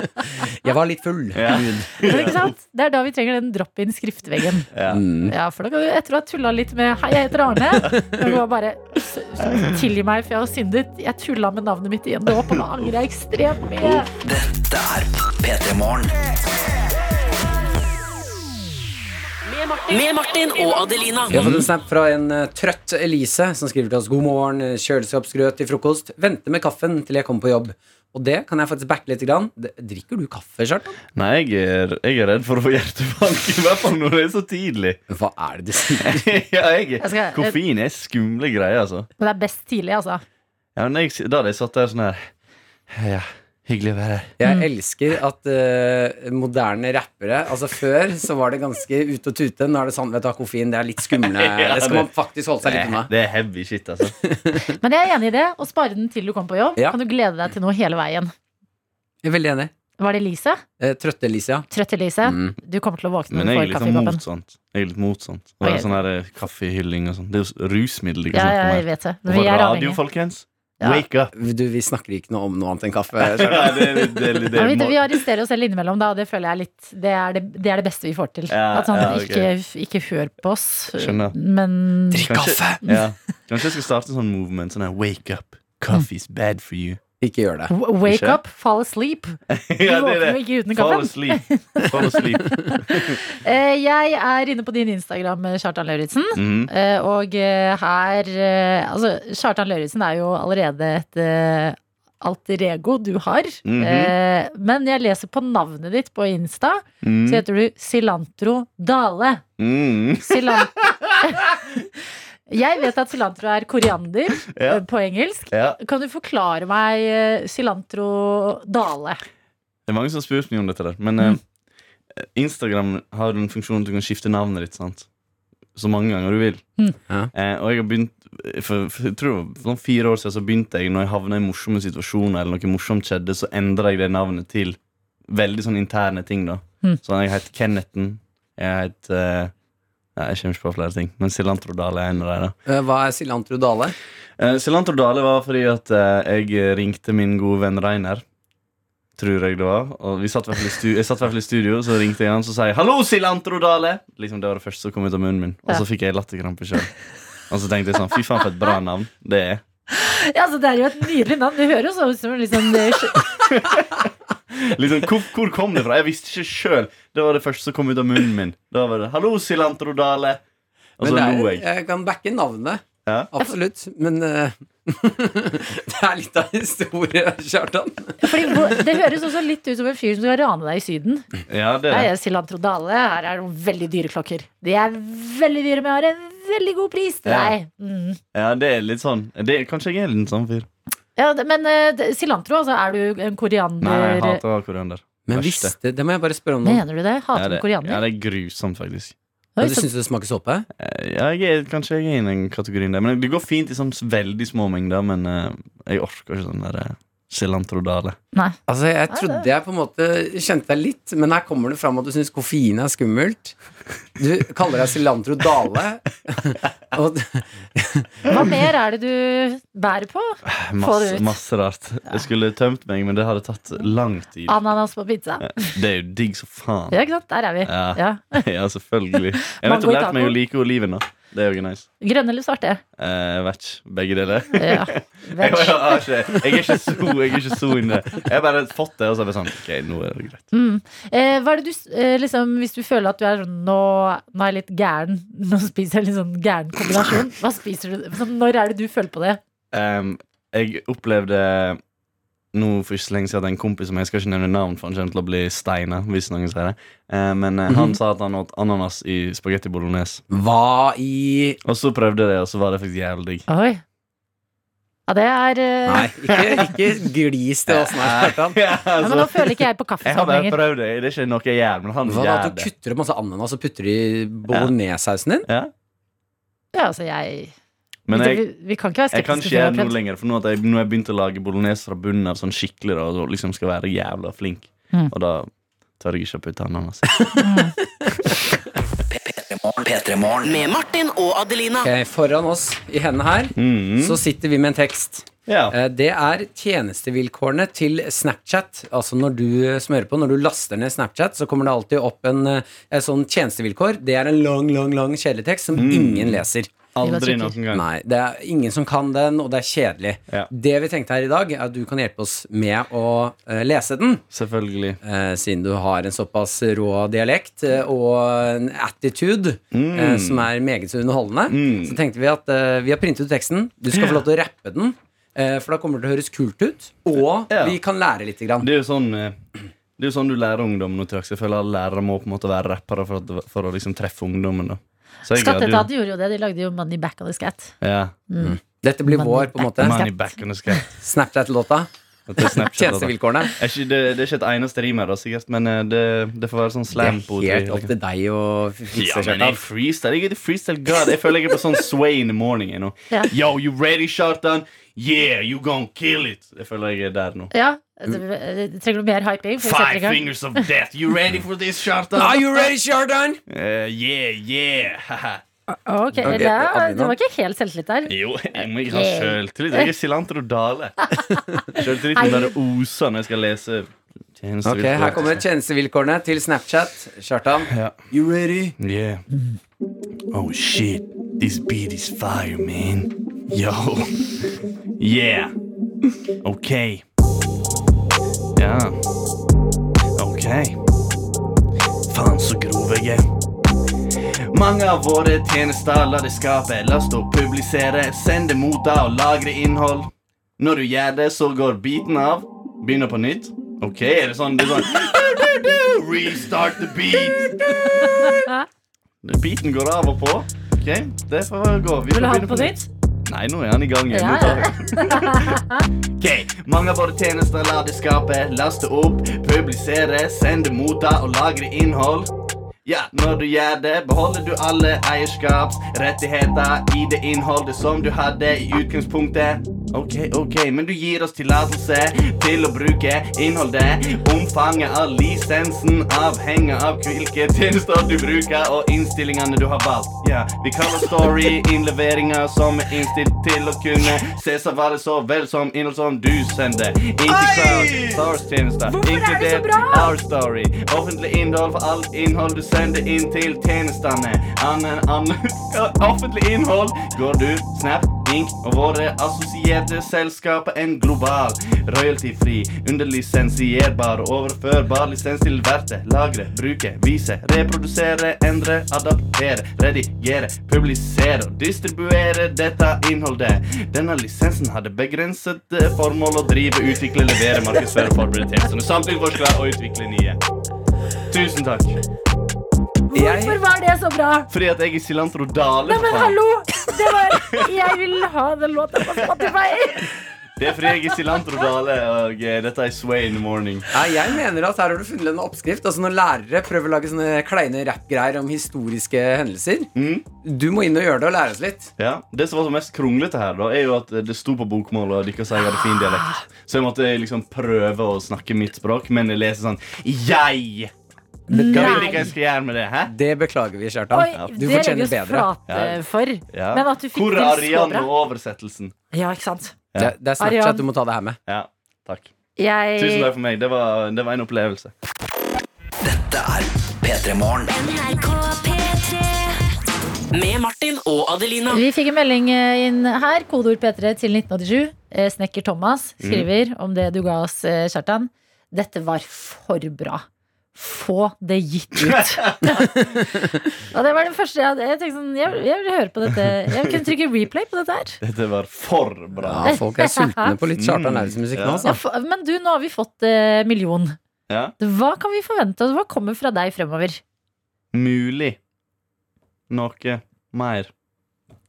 Speaker 3: Jeg var litt full.
Speaker 6: ja,
Speaker 2: Men Ikke sant? Det er da vi trenger den drop-in-skriftveggen.
Speaker 6: (laughs) ja.
Speaker 3: Mm.
Speaker 2: Ja, for da kan du etter å ha tulla litt med 'Hei, jeg heter Arne', men må bare s- s- tilgi meg, for jeg har syndet. Jeg tulla med navnet mitt igjen. Det var på nå angrer jeg ekstremt mye.
Speaker 4: Med Martin og Adelina.
Speaker 3: Vi har fått en snap fra en eh, trøtt Elise som skriver til oss God morgen, eh, kjøleskapsgrøt til frokost. Vente med kaffen til jeg kommer på jobb. Og det kan jeg faktisk backe litt. Grann. Det- Drikker du kaffe, Kjartan?
Speaker 6: Nei, jeg er, jeg er redd for å få hjertebank, i hvert fall når det er så tidlig. (laughs)
Speaker 3: Hva er det du sier?
Speaker 6: ja, jeg,
Speaker 2: Jeg skal-
Speaker 6: koffein er skumle greier, altså.
Speaker 2: Men det er best tidlig, altså.
Speaker 6: Ja, men jeg, da hadde jeg satt der sånn her Ja, hyggelig å være her.
Speaker 3: Jeg elsker at eh, moderne rappere Altså Før så var det ganske ute og tute. Nå er det sånn vet du, hva, koffein. Det er litt (laughs) skumle.
Speaker 6: Ja,
Speaker 3: Det skal
Speaker 6: det-
Speaker 3: man faktisk holde seg litt unna.
Speaker 6: Det er heavy shit, altså.
Speaker 2: (laughs) Men jeg er enig i det. Å spare den til du kommer på jobb,
Speaker 3: Ja.
Speaker 2: kan du glede deg til noe hele veien.
Speaker 3: Jeg er veldig enig.
Speaker 2: Var det Elise?
Speaker 3: Eh, Trøtte Elise, ja.
Speaker 2: Trøtt Elise?
Speaker 3: Mm.
Speaker 2: Du kommer til å våkne
Speaker 6: Men
Speaker 2: når
Speaker 6: jeg er
Speaker 2: du får
Speaker 6: litt
Speaker 2: kaffe i
Speaker 6: sånn
Speaker 2: koppen.
Speaker 6: mot sånt. Jeg er litt mot sånt.
Speaker 2: Ok.
Speaker 6: Og det er sånn her eh, kaffehylling og sånn. Det er jo s- rusmiddel de kan
Speaker 2: Ja, ja,
Speaker 6: snakke
Speaker 2: jeg
Speaker 6: om her.
Speaker 2: vet det.
Speaker 6: Og
Speaker 2: Men vi
Speaker 6: for
Speaker 2: er
Speaker 6: radio,
Speaker 2: avhengige.
Speaker 6: folkens.
Speaker 2: Ja.
Speaker 6: Wake up.
Speaker 3: Du, vi snakker ikke noe om noe annet enn kaffe.
Speaker 6: Ja,
Speaker 3: Kjartan.
Speaker 6: det, er litt- det, er litt-
Speaker 2: (laughs)
Speaker 6: det,
Speaker 2: Ja, vi,
Speaker 6: er må-
Speaker 2: vi arresterer oss selv innimellom, da. og Det føler jeg er litt Det er det, det, er det beste vi får til.
Speaker 6: Ja,
Speaker 2: At sånn,
Speaker 6: ja, ok.
Speaker 2: ikke, ikke hør på oss,
Speaker 6: Skjønner.
Speaker 2: men
Speaker 6: Kanskje, (laughs) ja. Kanskje jeg skal starte en sånn movement. Sånn her wake up. Coffee's bad for you.
Speaker 3: Ikke gjør det.
Speaker 2: W- Wake
Speaker 6: Ikke?
Speaker 2: up, fall
Speaker 6: (laughs)
Speaker 2: asleep. Du
Speaker 6: Ja, det er
Speaker 2: våkner jo
Speaker 6: det.
Speaker 2: ikke uten
Speaker 6: Fall
Speaker 2: kaffen.
Speaker 6: asleep. Fall
Speaker 2: (laughs)
Speaker 6: asleep.
Speaker 2: Eh, Jeg er inne på din Instagram, eh, Kjartan Lauritzen.
Speaker 6: Mhm.
Speaker 2: Eh, Og eh, her eh, Altså, Kjartan Lauritzen er jo allerede et eh, alter ego du har.
Speaker 6: Mhm.
Speaker 2: Eh, Men jeg leser på navnet ditt på Insta, så
Speaker 6: Mhm.
Speaker 2: heter du Cilantro Dale.
Speaker 6: Mhm. (laughs)
Speaker 2: Cilan- jeg vet at cilantro er koriander
Speaker 6: Ja.
Speaker 2: eh, på engelsk.
Speaker 6: Ja.
Speaker 2: Kan du forklare meg eh, cilantro dale?
Speaker 6: Det er mange som har spurt meg om dette der. Men eh, Instagram har en funksjon at du kan skifte navnet ditt sant? så mange ganger du vil.
Speaker 2: Mm.
Speaker 3: Ja.
Speaker 6: Eh, og jeg har begynt eh, for, for, jeg tror det var sånn fire år siden så begynte jeg når jeg havna i morsomme situasjoner, eller noe morsomt skjedde, så endra jeg det navnet til veldig sånn interne ting. da
Speaker 2: Mm.
Speaker 6: Så jeg het Kennethen. Jeg het eh, ja, Jeg kommer ikke på flere ting, men Cilantro Dale er en av dem.
Speaker 3: Eh, Hva er Silantro Dale?
Speaker 6: Eh, Cilantro Dale var fordi at eh, jeg ringte min gode venn Reiner. Tror jeg det var. Og vi satt i hvert fall i stu jeg satt i hvert fall i studio, så ringte jeg han så sa jeg 'Hallo, Cilantro Dale!' Liksom Det var det første som kom ut av munnen min. Og
Speaker 2: Ja.
Speaker 6: så fikk jeg latterkrampe sjøl. Og så tenkte jeg sånn Fy faen, for et bra navn det er.
Speaker 2: Ja, altså, det er jo et nydelig navn. Det høres jo ut som liksom, eh,
Speaker 6: Liksom, hvor, hvor kom det fra? Jeg visste ikke sjøl. Det var det første som kom ut av munnen min. Da var det 'Hallo, Cilantro Dale!' Og så
Speaker 3: Men det er- eh,
Speaker 6: lo jeg.
Speaker 3: Jeg kan backe navnet.
Speaker 6: Altså, Ja.
Speaker 3: Absolutt. Men eh, (laughs) det er litt av historie, Kjartan.
Speaker 2: fordi, hvor- det høres også litt ut som en fyr som skal rane deg i Syden.
Speaker 6: Ja, det
Speaker 2: Her
Speaker 6: er det.
Speaker 2: er cilantro dale. Her er noen veldig dyre klokker. De er veldig dyre, men har en veldig god pris til
Speaker 6: Ja.
Speaker 2: deg. Mm.
Speaker 6: Ja, det er litt sånn. Det, kanskje jeg er en sånn fyr.
Speaker 2: Ja, det- men eh, det- cilantro, altså, er du en koriander
Speaker 6: Nei, jeg hater koriander.
Speaker 3: Men
Speaker 6: Verste.
Speaker 3: visste, det må jeg bare spørre om nå.
Speaker 2: Mener du det? Hater
Speaker 6: Ja,
Speaker 2: du
Speaker 6: det,
Speaker 2: koriander?
Speaker 6: ja, det er grusomt, faktisk.
Speaker 2: Oi,
Speaker 3: Men du
Speaker 2: så-
Speaker 3: syns det smaker såpe?
Speaker 6: Eh, Ja, jeg er, kanskje jeg er inne i den kategorien der. Men Det går fint i sånn veldig små mengder, men eh, jeg orker ikke sånn der eh, cilantrodale.
Speaker 3: Altså, jeg trodde jeg på en måte kjente deg litt, men her kommer det fram at du syns koffein er skummelt. Du kaller deg Cilantro Dale. (laughs) Og
Speaker 2: Hva mer er det du bærer på? Få det
Speaker 6: Masse,
Speaker 2: ut.
Speaker 6: masse rart. Jeg skulle tømt meg, men det hadde tatt lang tid. Eh,
Speaker 2: Ananas på pizza.
Speaker 6: Det er jo digg som faen.
Speaker 2: Ja, ikke sant? Der er vi.
Speaker 6: Ja.
Speaker 2: Ja.
Speaker 6: (laughs) Ja, selvfølgelig. Jeg har
Speaker 2: Mango
Speaker 6: nettopp
Speaker 2: i
Speaker 6: lært meg
Speaker 2: taco.
Speaker 6: å like oliven, da. Det er jo nice.
Speaker 2: Grønne eller svarte?
Speaker 6: Eh, Jeg vet ikke. Begge deler.
Speaker 2: Ja.
Speaker 6: (laughs) Jeg,
Speaker 2: Veg.
Speaker 6: har ikke, jeg er ikke så jeg er ikke så inne. Jeg har bare fått det, og så er jeg bare sånn OK, nå er det greit.
Speaker 2: Mm. Eh, hva er det du s- eh, liksom, Hvis du føler at du er sånn nå, nå er jeg litt gæren, nå spiser jeg litt sånn gæren kombinasjon, hva spiser du? Sånn, når er det du føler på det?
Speaker 6: Ehm, jeg opplevde nå for ikke så lenge siden at en kompis som jeg skal ikke nevne navn, for han kommer til å bli steina. Hvis noen sier det Eh, Men eh, han sa at han åt ananas i spagetti bolognese.
Speaker 3: hva i
Speaker 6: Og så prøvde jeg det, og så var det faktisk jævlig digg. (laughs)
Speaker 2: Oi. Ja, det er eh,
Speaker 3: Nei, ikke, ikke glis til oss, nei, Kjartan.
Speaker 6: Ja,
Speaker 2: ja, men Nå
Speaker 6: altså,
Speaker 2: føler ikke jeg på
Speaker 6: (laughs) jeg har
Speaker 2: kaffeskap
Speaker 6: bare
Speaker 2: lenger.
Speaker 6: prøvd det. Det er ikke noe jeg gjør, men han
Speaker 3: Hva da,
Speaker 6: gjør
Speaker 3: at du
Speaker 6: det.
Speaker 3: kutter opp masse ananas og putter det i bolognese-sausen din?
Speaker 6: Ja.
Speaker 2: Ja, altså, jeg
Speaker 6: Men
Speaker 2: vi,
Speaker 6: jeg,
Speaker 2: vi kan ikke være
Speaker 6: jeg kan
Speaker 2: skeptiske.
Speaker 6: ikke gjøre det
Speaker 2: til
Speaker 6: nå
Speaker 2: det.
Speaker 6: lenger, for nå, at jeg, nå har jeg begynt å lage bolognese fra bunnen av sånn skikkelig, da, og liksom skal være jævla flink.
Speaker 2: Mm.
Speaker 6: Og da tør jeg ikke å putte ananas.
Speaker 4: Med Martin og Adelina.
Speaker 3: Ok, Foran oss i hendene her
Speaker 6: Mm.
Speaker 3: så sitter vi med en tekst.
Speaker 6: Ja.
Speaker 3: Eh, Det er tjenestevilkårene til Snapchat. Altså når du eh, smører på, når du laster ned Snapchat, så kommer det alltid opp en, eh, en sånn tjenestevilkår. Det er en lang, lang, lang kjeletekst
Speaker 6: Mm.
Speaker 3: som ingen leser.
Speaker 6: Aldri
Speaker 2: sikkert.
Speaker 6: noen gang.
Speaker 3: Nei, det er ingen som kan den, og det er kjedelig.
Speaker 6: Ja.
Speaker 3: Det vi tenkte her i dag, er at du kan hjelpe oss med å eh, lese den.
Speaker 6: Selvfølgelig.
Speaker 3: Eh, siden du har en såpass rå dialekt eh, og en attitude
Speaker 6: Mm.
Speaker 3: eh, som er meget så underholdende,
Speaker 6: Mm.
Speaker 3: så tenkte vi at eh, vi har printet ut teksten. Du skal få lov til å rappe den, eh, for da kommer det til å høres kult ut. Og
Speaker 6: Ja.
Speaker 3: vi kan lære lite grann.
Speaker 6: Det er jo sånn eh, Det er jo sånn du lærer ungdom nå til dags. Jeg føler alle lærere må på en måte være rappere for, at, for å liksom treffe ungdommen. da Så jeg hadde jo-
Speaker 2: Skatteetaten gjorde jo det. De lagde jo Money Back on the Scat.
Speaker 6: ja.
Speaker 3: Mm. Dette blir
Speaker 2: Money
Speaker 3: vår, på en
Speaker 2: back.
Speaker 3: måte.
Speaker 2: Money.
Speaker 6: Money back on the scat.
Speaker 3: Snapchat-låta.
Speaker 6: Dette er Snapchat. da.
Speaker 3: Tjenestevilkårene.
Speaker 6: Er ikke, det, det er ikke et eneste rim her, da, sikkert, men eh, det, det får være sånn
Speaker 3: Det er
Speaker 6: slam poetry.
Speaker 3: helt opp til deg å
Speaker 6: Ja,
Speaker 3: fikse.
Speaker 6: men jeg
Speaker 3: Kjartan.
Speaker 6: freestyle. Jeg er the freestyle god. Jeg føler jeg er på sånn Sway in the morning. You know.
Speaker 2: Ja.
Speaker 6: Yo, you ready, Shartan? Yeah, you gonna kill it. Jeg føler jeg er der nå.
Speaker 2: Ja, det, det trenger du mer hyping? For å sette i
Speaker 6: Five
Speaker 2: gang?
Speaker 6: fingers of death. You ready for this, Shartan?
Speaker 3: Are you ready, Shardan?
Speaker 6: Eh, yeah, yeah. (laughs)
Speaker 2: Ok,
Speaker 3: Ok,
Speaker 2: det, det
Speaker 3: Adelina.
Speaker 2: var ikke helt selvtillit der.
Speaker 6: jo, jeg må ikke ha sjøltillit. Jeg er Silantro Dale. Sjøltilliten bare oser når jeg skal lese
Speaker 3: Ok,
Speaker 6: tjenestevilkår.
Speaker 3: Her kommer tjenestevilkårene til Snapchat. Kjartan,
Speaker 6: Ja.
Speaker 3: you ready?
Speaker 6: Yeah. Oh shit, this beat is fire, man. Yo. Yeah. Okay. Ja. Ok. Faen, så grov jeg er. Mange av våre tjenester lar det skape, laste og publisere, sende, motta og lagre innhold. Når du gjør det, så går biten av. Begynner på nytt. Ok, er det sånn? Det er sånn (laughs) Restart the beat. Beaten går av og på. Ok, det får gå. Vi
Speaker 2: Vil du
Speaker 6: får
Speaker 2: ha
Speaker 6: begynne
Speaker 2: den på nytt?
Speaker 6: Nei, nå er han i gang igjen.
Speaker 2: Ja,
Speaker 6: Nå tar
Speaker 2: (laughs)
Speaker 6: vi- Ok, Mange av våre tjenester lar det skape, laste opp, publisere, sende, motta og lagre innhold. Ja, når du gjør det, beholder du alle eierskapsrettigheter i det innholdet som du hadde i utgangspunktet. Ok, ok, men du gir oss tillatelse til å bruke innholdet. Omfanget av lisensen avhenger av hvilke tjenester du bruker og innstillingene du har valgt. Ja, vi kaller story innleveringer som er innstilt til å kunne ses av alle så vel som innhold som du sender. Integrert Stars-tjenester, inkludert Our Story. Offentlig innhold for alt innhold du sender inn til tjenestene. Annen, annen, (laughs) offentlig innhold går du, Snap, Ink og våre assosierte selskaper en global, royalty-fri, underlisensierbar og overførbar lisens til verte, lagre, bruke, vise, reprodusere, endre, adaptere, redigere, publisere og distribuere dette innholdet. Denne lisensen hadde begrenset eh, formål å drive, utvikle, levere, markedsføre, forberede tjenestene, samtidig og utvikle nye. Tusen takk.
Speaker 2: Hvorfor var det så bra?
Speaker 6: Fordi at jeg er Silantro Dale.
Speaker 2: Nei,
Speaker 6: for
Speaker 2: men
Speaker 6: faen.
Speaker 2: hallo! Det var, jeg vil ha den låta på Spotify!
Speaker 6: Det er fordi jeg er Silantro Dale, og eh, dette er Sway in the morning.
Speaker 3: Nei, jeg mener at her har du funnet en oppskrift. Altså Når lærere prøver å lage sånne kleine rappgreier om historiske hendelser
Speaker 6: Mm.
Speaker 3: Du må inn og gjøre det og lære oss litt.
Speaker 6: Ja, Det som var så mest kronglete her, da, er jo at eh, det sto på bokmål, og dere sa jeg hadde fin dialekt. Så jeg måtte liksom prøve å snakke mitt språk, men jeg leser sånn Jeg! Hva vil dere jeg skal gjøre med det? hæ?
Speaker 3: Det beklager vi,
Speaker 2: Oi,
Speaker 3: Kjartan.
Speaker 2: det
Speaker 3: Du
Speaker 2: legger
Speaker 3: fortjener
Speaker 2: oss
Speaker 3: bedre.
Speaker 2: flate
Speaker 6: Ja.
Speaker 2: for.
Speaker 6: Ja.
Speaker 2: Men at du fikk
Speaker 6: Hvor
Speaker 2: til
Speaker 6: er
Speaker 2: så
Speaker 6: Arian
Speaker 2: bra.
Speaker 6: og oversettelsen?
Speaker 2: Ja, ikke sant?
Speaker 3: Det, det er
Speaker 2: Arian.
Speaker 3: Snapchat du må ta det her med.
Speaker 6: Ja, takk.
Speaker 2: Jeg
Speaker 6: Tusen takk for meg. Det var, det var en opplevelse. (laughs)
Speaker 4: Med Martin og Adelina.
Speaker 2: Vi fikk en melding eh, inn her. Kodeord P3 til 1987. Eh, Snekker Thomas skriver om det du ga oss, eh, Kjartan. Dette var for bra. Få det gitt ut. (laughs) og det var den første jeg hadde. Jeg tenkte sånn, jeg, jeg vil høre på dette. Jeg kunne trykke replay på dette her.
Speaker 6: Dette var for bra.
Speaker 3: Ja, folk er sultne på litt Kjartan Lauritz-musikk nå,
Speaker 6: Ja.
Speaker 2: Ja,
Speaker 3: altså.
Speaker 2: fa- men du, nå har vi fått eh, million.
Speaker 6: Ja.
Speaker 2: Hva kan vi forvente? og Hva kommer fra deg fremover?
Speaker 6: Mulig noe mer.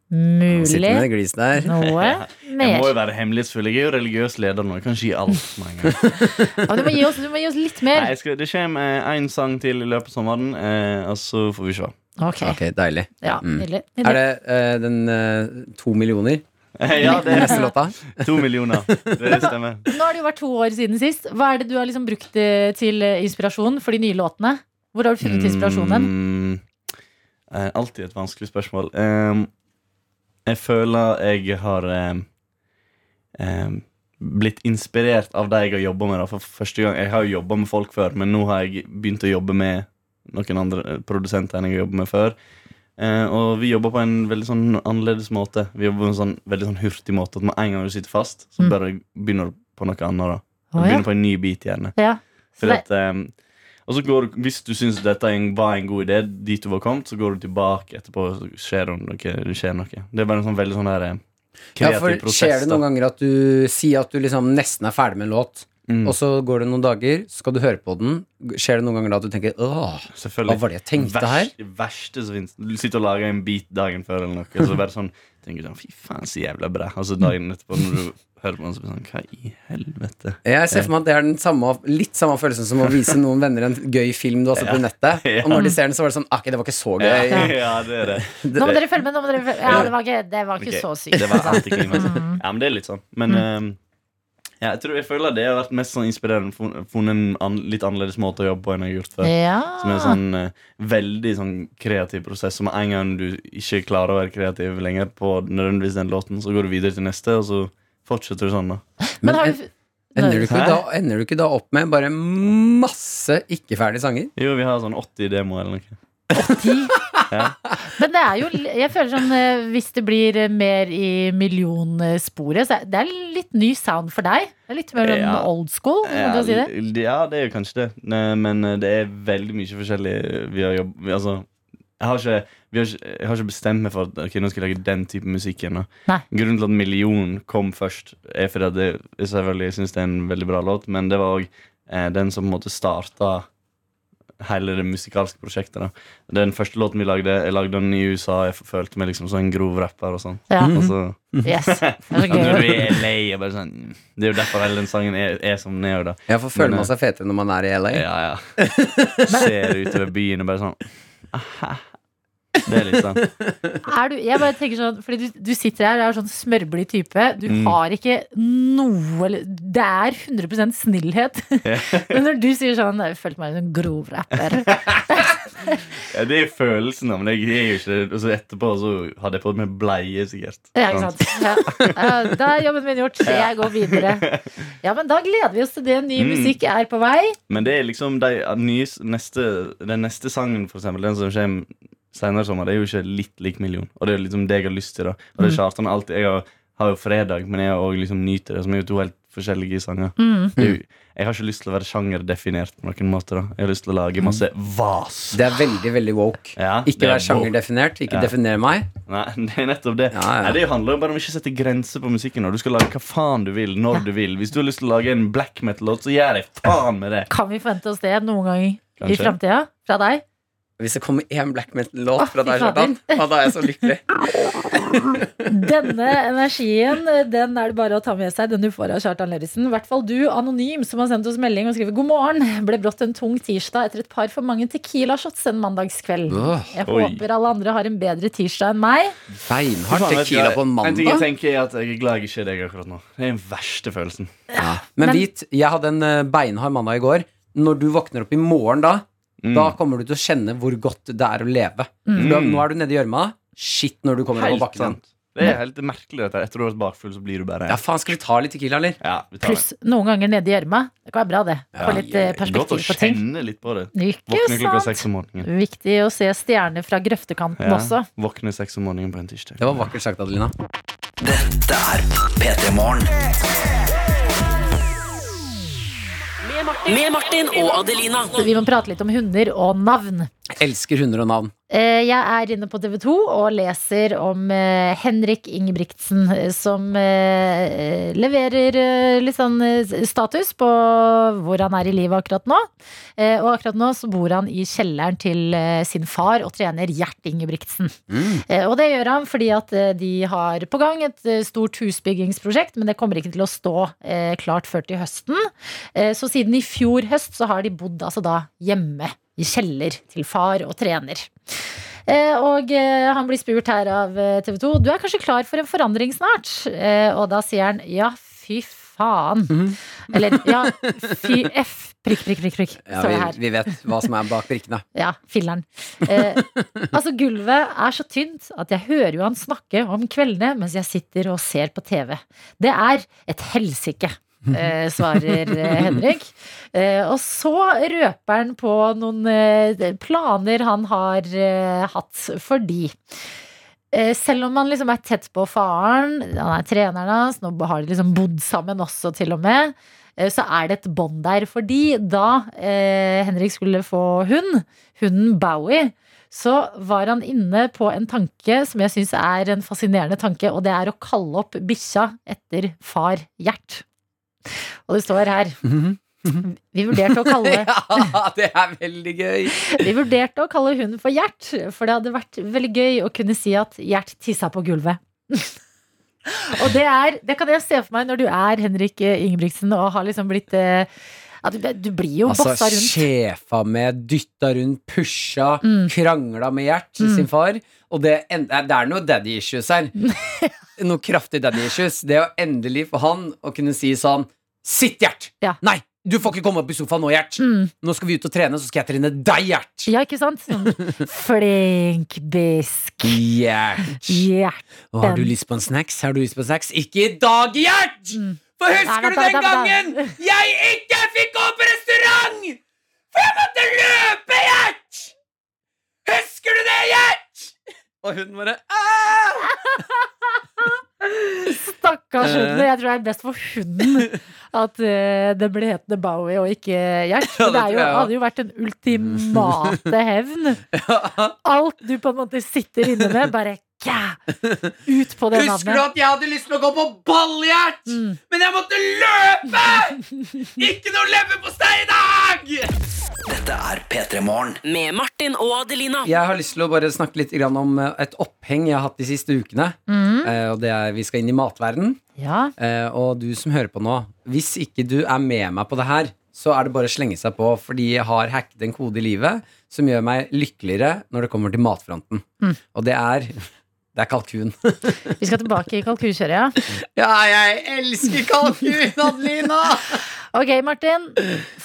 Speaker 3: Sitter
Speaker 2: Mulig
Speaker 3: med det gliset der.
Speaker 2: noe
Speaker 6: Jeg må jo
Speaker 2: mer.
Speaker 6: være hemmelighetsfull. Jeg er jo religiøs leder nå. Jeg kan ikke gi alt med en gang.
Speaker 2: Ja, du, må gi oss, du må gi oss litt
Speaker 6: Nei,
Speaker 2: mer.
Speaker 6: jeg skal, det kommer én sang til i løpet av sommeren, eh, og så får vi se.
Speaker 2: Ok.
Speaker 3: Ok, deilig.
Speaker 2: Ja,
Speaker 3: Mm.
Speaker 2: nydelig.
Speaker 3: Er
Speaker 2: nydelig.
Speaker 3: det eh, den eh, to millioner?
Speaker 6: Ja, det (laughs) er
Speaker 3: Neste låta?
Speaker 6: to millioner. Det stemmer.
Speaker 2: Nå har det jo vært to år siden sist. Hva er det du har liksom brukt eh, til eh, inspirasjon for de nye låtene? Hvor har du funnet inspirasjonen?
Speaker 6: Mm, eh, alltid et vanskelig spørsmål. Ehm, jeg føler jeg har ehm, ehm, blitt inspirert av det jeg har jobba med. Da, for første gang, Jeg har jo jobba med folk før, men nå har jeg begynt å jobbe med noen andre eh, produsenter enn jeg har jobbet med før. Eh, og vi jobber på en veldig sånn annerledes måte. Vi jobber på en sånn, veldig sånn hurtig måte. At med en gang du sitter fast, så
Speaker 2: Mm.
Speaker 6: bare begynner du på noe annet. da
Speaker 2: Å, ja.
Speaker 6: Begynner på en ny bit, gjerne.
Speaker 2: Ja. Så
Speaker 6: Fordi
Speaker 2: det,
Speaker 6: at, ehm, og så går, du- hvis du syns dette er en- var en god idé, dit du var kommet, så går du tilbake etterpå. og Så skjer det noe. Det, skjer noe. det er bare en sånn veldig sånn her, eh,
Speaker 3: Ja,
Speaker 6: kreativ
Speaker 3: for skjer
Speaker 6: prosess.
Speaker 3: det noen
Speaker 6: da.
Speaker 3: ganger at du sier at du liksom nesten er ferdig med en låt,
Speaker 6: Mm.
Speaker 3: og så går det noen dager, så skal du høre på den. Skjer det noen ganger da at du tenker åh, hva
Speaker 6: Selvfølgelig.
Speaker 3: var det jeg tenkte her?
Speaker 6: Verst- Det verste som finnes. Du sitter og lager en beat dagen før, eller noe, og så bare sånn tenker du sånn, fy faen, så jævla bra. Og så dagen etterpå, når du hører på den, så blir det sånn, hva i helvete?
Speaker 3: Jeg ser for meg at det er den samme, litt samme følelsen som å vise noen venner en gøy film du har sett på nettet.
Speaker 6: (laughs) Ja.
Speaker 3: Og når de ser den, så var det sånn Akk, det var ikke så gøy.
Speaker 6: Ja, (laughs) ja, det er det.
Speaker 2: nå må dere følge med! Nå må dere følge. Ja,
Speaker 6: Ja.
Speaker 2: det var ikke, det var ikke
Speaker 6: Ok,
Speaker 2: så sykt. altså.
Speaker 6: Det var antiklimaks. Ja, men det er litt sånn. Men eh, ja, jeg tror jeg føler det har vært mest sånn inspirerende. Fun- Funnet en an litt annerledes måte å jobbe på enn jeg har gjort før. Som er en
Speaker 2: Ja.
Speaker 6: sånn eh, veldig sånn kreativ prosess. Som en gang du ikke klarer å være kreativ lenger på nødvendigvis den låten, så går du videre til neste, og så fortsetter du sånn, da.
Speaker 2: Men har
Speaker 3: en-
Speaker 2: du
Speaker 3: Ender du, ikke
Speaker 6: Hæ?
Speaker 3: da, ender du ikke da opp med bare masse ikke-ferdige sanger?
Speaker 6: Jo, vi har sånn 80 demoer eller noe.
Speaker 2: Men det er jo Jeg føler sånn eh, Hvis det blir eh, mer i millionsporet, så er- det er litt ny sound for deg. Det er litt mer sånn
Speaker 6: Ja.
Speaker 2: old (laughs) school, om man
Speaker 6: Ja,
Speaker 2: kan si det.
Speaker 6: l- ja, det er jo kanskje det. Ne- Men eh, det er veldig mye forskjellig vi har jobb... Vi, altså, jeg har, ikke, vi har ikke, jeg har ikke bestemt meg for at ok, nå skal jeg lage den type musikk ennå.
Speaker 2: Nei.
Speaker 6: Grunnen til at Million kom først, er fordi at det, jeg selvfølgelig syns det er en veldig bra låt, men det var òg eh, den som på en måte starta hele det musikalske prosjektet. Da. Den første låten vi lagde, jeg lagde den i USA. Jeg følte meg liksom som en grov rapper og sånn.
Speaker 2: Ja.
Speaker 6: Og så
Speaker 2: Yes. Mhm. Det er så
Speaker 6: (laughs) ja, når
Speaker 2: gøy.
Speaker 6: du er LA, jeg bare sånn, Det er jo derfor hele den sangen er, er som den er. Da.
Speaker 3: Ja, for føler
Speaker 6: Men,
Speaker 3: man seg fetere når man er i LA?
Speaker 6: Ja, ja. (laughs) Ser utover byen og bare sånn aha. Det er litt sånn.
Speaker 2: Er du, jeg bare tenker sånn Fordi du, du sitter her og er sånn smørblid type. Du
Speaker 6: Mm.
Speaker 2: har ikke noe eller- Det er 100 snillhet. (laughs) Men når du sier sånn Jeg følte meg som en grov rapper.
Speaker 6: Ja, det er følelsen, da, men jeg er jo ikke det. Og så etterpå så hadde jeg på meg bleie, sikkert.
Speaker 2: Ja, ikke sant? Ja. Ja, Da er jobben min gjort. Jeg går videre. Ja, men da gleder vi oss til det. Ny
Speaker 6: Mm.
Speaker 2: musikk er på vei.
Speaker 6: Men det er liksom de nye, neste, Den neste sangen, for eksempel, den som kommer senere i sommer, det er jo ikke litt lik million. Og det er liksom det jeg har lyst til, da.
Speaker 2: Mm.
Speaker 6: Og det er Kjartan alltid. Jeg har, har jo fredag, men jeg har også liksom nyter det, som er jo to helt forskjellige sanger.
Speaker 2: Mm.
Speaker 6: Det er jo- Jeg har ikke lyst til å være sjangerdefinert på noen måte, da. Jeg har lyst til å lage masse vas.
Speaker 3: Det er veldig, veldig woke.
Speaker 6: Ja, det
Speaker 3: Ikke
Speaker 6: er
Speaker 3: vær sjangerdefinert. Ikke
Speaker 6: Ja.
Speaker 3: definer meg.
Speaker 6: Nei, (laughs) det er nettopp det.
Speaker 3: Ja, ja.
Speaker 6: Nei, det handler jo bare om å ikke sette grenser på musikken. Og du skal lage hva faen du vil, når du vil. Hvis du har lyst til å lage en black metal-låt, så gjør jeg faen med det.
Speaker 2: Kan vi forvente oss det noen gang i
Speaker 6: Kanskje.
Speaker 2: framtida? Fra deg?
Speaker 3: Hvis det kommer én black metal-låt
Speaker 2: Å,
Speaker 3: fra deg,
Speaker 2: fy
Speaker 3: Kjartan, ja, da er jeg så lykkelig.
Speaker 6: (laughs)
Speaker 2: Denne energien den er det bare å ta med seg. Den du får av Kjartan Lauritzen. I hvert fall du, anonym, som har sendt oss melding og skriver 'God morgen'. Ble brått en tung tirsdag etter et par for mange Tequila-shots en mandagskveld. Jeg
Speaker 6: Oi.
Speaker 2: håper alle andre har en bedre tirsdag enn meg.
Speaker 3: Beinhard
Speaker 6: Faen, vet du,
Speaker 3: tequila
Speaker 6: jeg-
Speaker 3: på en
Speaker 6: En ting jeg
Speaker 3: mandag.
Speaker 6: tenker er at jeg er glad jeg ikke er deg akkurat nå. Det er den verste følelsen.
Speaker 3: Ja. Men vit, jeg hadde en eh, beinhard mandag i går. Når du våkner opp i morgen da,
Speaker 6: Mm.
Speaker 3: da kommer du til å kjenne hvor godt det er å leve. For da, nå er du nede i gjørma. Shit når du kommer over
Speaker 6: Helt
Speaker 3: bakken igjen.
Speaker 6: sant. Det er helt merkelig dette. Etter du har vært bakfull, så blir du bare
Speaker 3: Ja, faen, skal vi ta litt tequila, eller?
Speaker 6: Ja, vi tar det.
Speaker 2: Pluss noen ganger nede i gjørma. Det kan være bra, det. Få litt eh,
Speaker 6: Godt å
Speaker 2: perspektiv på ting.
Speaker 6: kjenne litt på det. Våkne klokka
Speaker 2: Ikke sant?
Speaker 6: seks om morgenen.
Speaker 2: Viktig å se stjerner fra grøftekanten
Speaker 6: Ja,
Speaker 2: også.
Speaker 6: Våkne seks om morgenen på en tirsdag.
Speaker 3: Det var vakkert sagt, Adelina.
Speaker 4: Med Martin og Adelina.
Speaker 2: Vi må prate litt om hunder og navn.
Speaker 3: Elsker hunder og navn.
Speaker 2: Eh, Jeg er inne på TV 2 og leser om eh, Henrik Ingebrigtsen, eh, som eh, eh, leverer eh, litt sånn eh, status på hvor han er i livet akkurat nå. Eh, Og akkurat nå så bor han i kjelleren til eh, sin far og trener Gjert Ingebrigtsen. Eh, Og det gjør han fordi at eh, de har på gang et eh, stort husbyggingsprosjekt, men det kommer ikke til å stå eh, klart før til høsten. Eh, Så siden i fjor høst så har de bodd altså da hjemme i kjeller til far og trener. Eh, Eh, og eh, han blir spurt her av eh, TV 2 Du er kanskje klar for en forandring snart? Eh, og da sier han ja, fy faen.
Speaker 3: Mhm.
Speaker 2: Eller ja, fy f. Prikk, prikk, prikk. prikk
Speaker 3: Ja,
Speaker 2: står
Speaker 3: vi,
Speaker 2: det her.
Speaker 3: vi vet hva som er bak prikkene.
Speaker 2: Ja, filleren. Eh, altså, gulvet er så tynt at jeg hører jo han snakke om kveldene mens jeg sitter og ser på TV. Det er et helsike. Eh, svarer eh, Henrik. Eh, og så røper han på noen eh, planer han har eh, hatt, fordi eh, selv om han liksom er tett på faren, han er treneren hans, nå har de liksom bodd sammen også, til og med, eh, så er det et bånd der. Fordi da eh, Henrik skulle få hund, hunden Bowie, så var han inne på en tanke som jeg syns er en fascinerende tanke, og det er å kalle opp bikkja etter far Gjert. Og det står her Vi vurderte å kalle
Speaker 3: Ja, det er veldig gøy!
Speaker 2: vi vurderte å kalle hunden for Gjert, for det hadde vært veldig gøy å kunne si at Gjert tissa på gulvet. (laughs) og det er Det kan jeg se for meg når du er Henrik eh, Ingebrigtsen og har liksom blitt eh, at du, du blir jo
Speaker 3: Altså,
Speaker 2: bossa rundt.
Speaker 3: sjefa med, dytta rundt, pusha,
Speaker 2: Mm.
Speaker 3: krangla med Gjert,
Speaker 2: Mm.
Speaker 3: sin far. Og det, en- det er noe daddy issues
Speaker 2: (laughs)
Speaker 3: her. noe kraftig daddy issues. Det å endelig for han å kunne si sånn Sitt, Gjert!
Speaker 2: Ja.
Speaker 3: Nei! Du får ikke komme opp i sofaen nå, Gjert!
Speaker 2: Mm.
Speaker 3: Nå skal vi ut og trene, så skal jeg trene deg, Gjert!
Speaker 2: Ja, ikke sant? Sånn, Flink bisk.
Speaker 3: Gjert!
Speaker 2: Gjert.
Speaker 3: Og har du lyst på en snacks? Har du lyst på en snacks? Ikke i dag, Gjert!
Speaker 2: Mm.
Speaker 3: For husker
Speaker 2: Nei,
Speaker 3: du
Speaker 2: vent da, vent
Speaker 3: den
Speaker 2: da, vent
Speaker 3: gangen jeg ikke fikk gå på restaurant? For jeg måtte løpe, Gjert! Husker du det, Gjert? Og hun bare "Ah!" «Åh!»
Speaker 2: (laughs) Stakkars
Speaker 3: Eh.
Speaker 2: hund. Jeg tror det er best for hunden at eh, det ble hetende Bowie og ikke Gjert. Men
Speaker 3: Ja,
Speaker 2: det
Speaker 3: det
Speaker 2: er
Speaker 3: tror
Speaker 2: jo,
Speaker 3: jeg også.
Speaker 2: hadde jo vært den ultimate hevn.
Speaker 3: (laughs)
Speaker 2: Alt du på en måte sitter inne med, bare kæ, ut på det
Speaker 3: Husker du
Speaker 2: navnet.
Speaker 3: at jeg hadde lyst til å gå på ball, Gjert?
Speaker 2: Mm.
Speaker 3: Men jeg måtte løpe!
Speaker 2: (laughs)
Speaker 3: Ikke noe leverpostei i dag!
Speaker 4: Med Martin og Adelina.
Speaker 3: Jeg har lyst til å bare snakke litt grann om eh, et oppheng jeg har hatt de siste ukene.
Speaker 2: Mm.
Speaker 3: Eh, Og det er Vi skal inn i matverden.
Speaker 2: Ja.
Speaker 3: Eh, og du som hører på nå, hvis ikke du er med meg på det her, så er det bare å slenge seg på, fordi jeg har hacket en kode i livet som gjør meg lykkeligere når det kommer til matfronten.
Speaker 2: Mm.
Speaker 3: Og det er det er kalkun.
Speaker 2: Vi skal tilbake i kalkunkjøret, ja.
Speaker 3: Ja, jeg elsker kalkun, Adelina!
Speaker 2: Ok, Martin.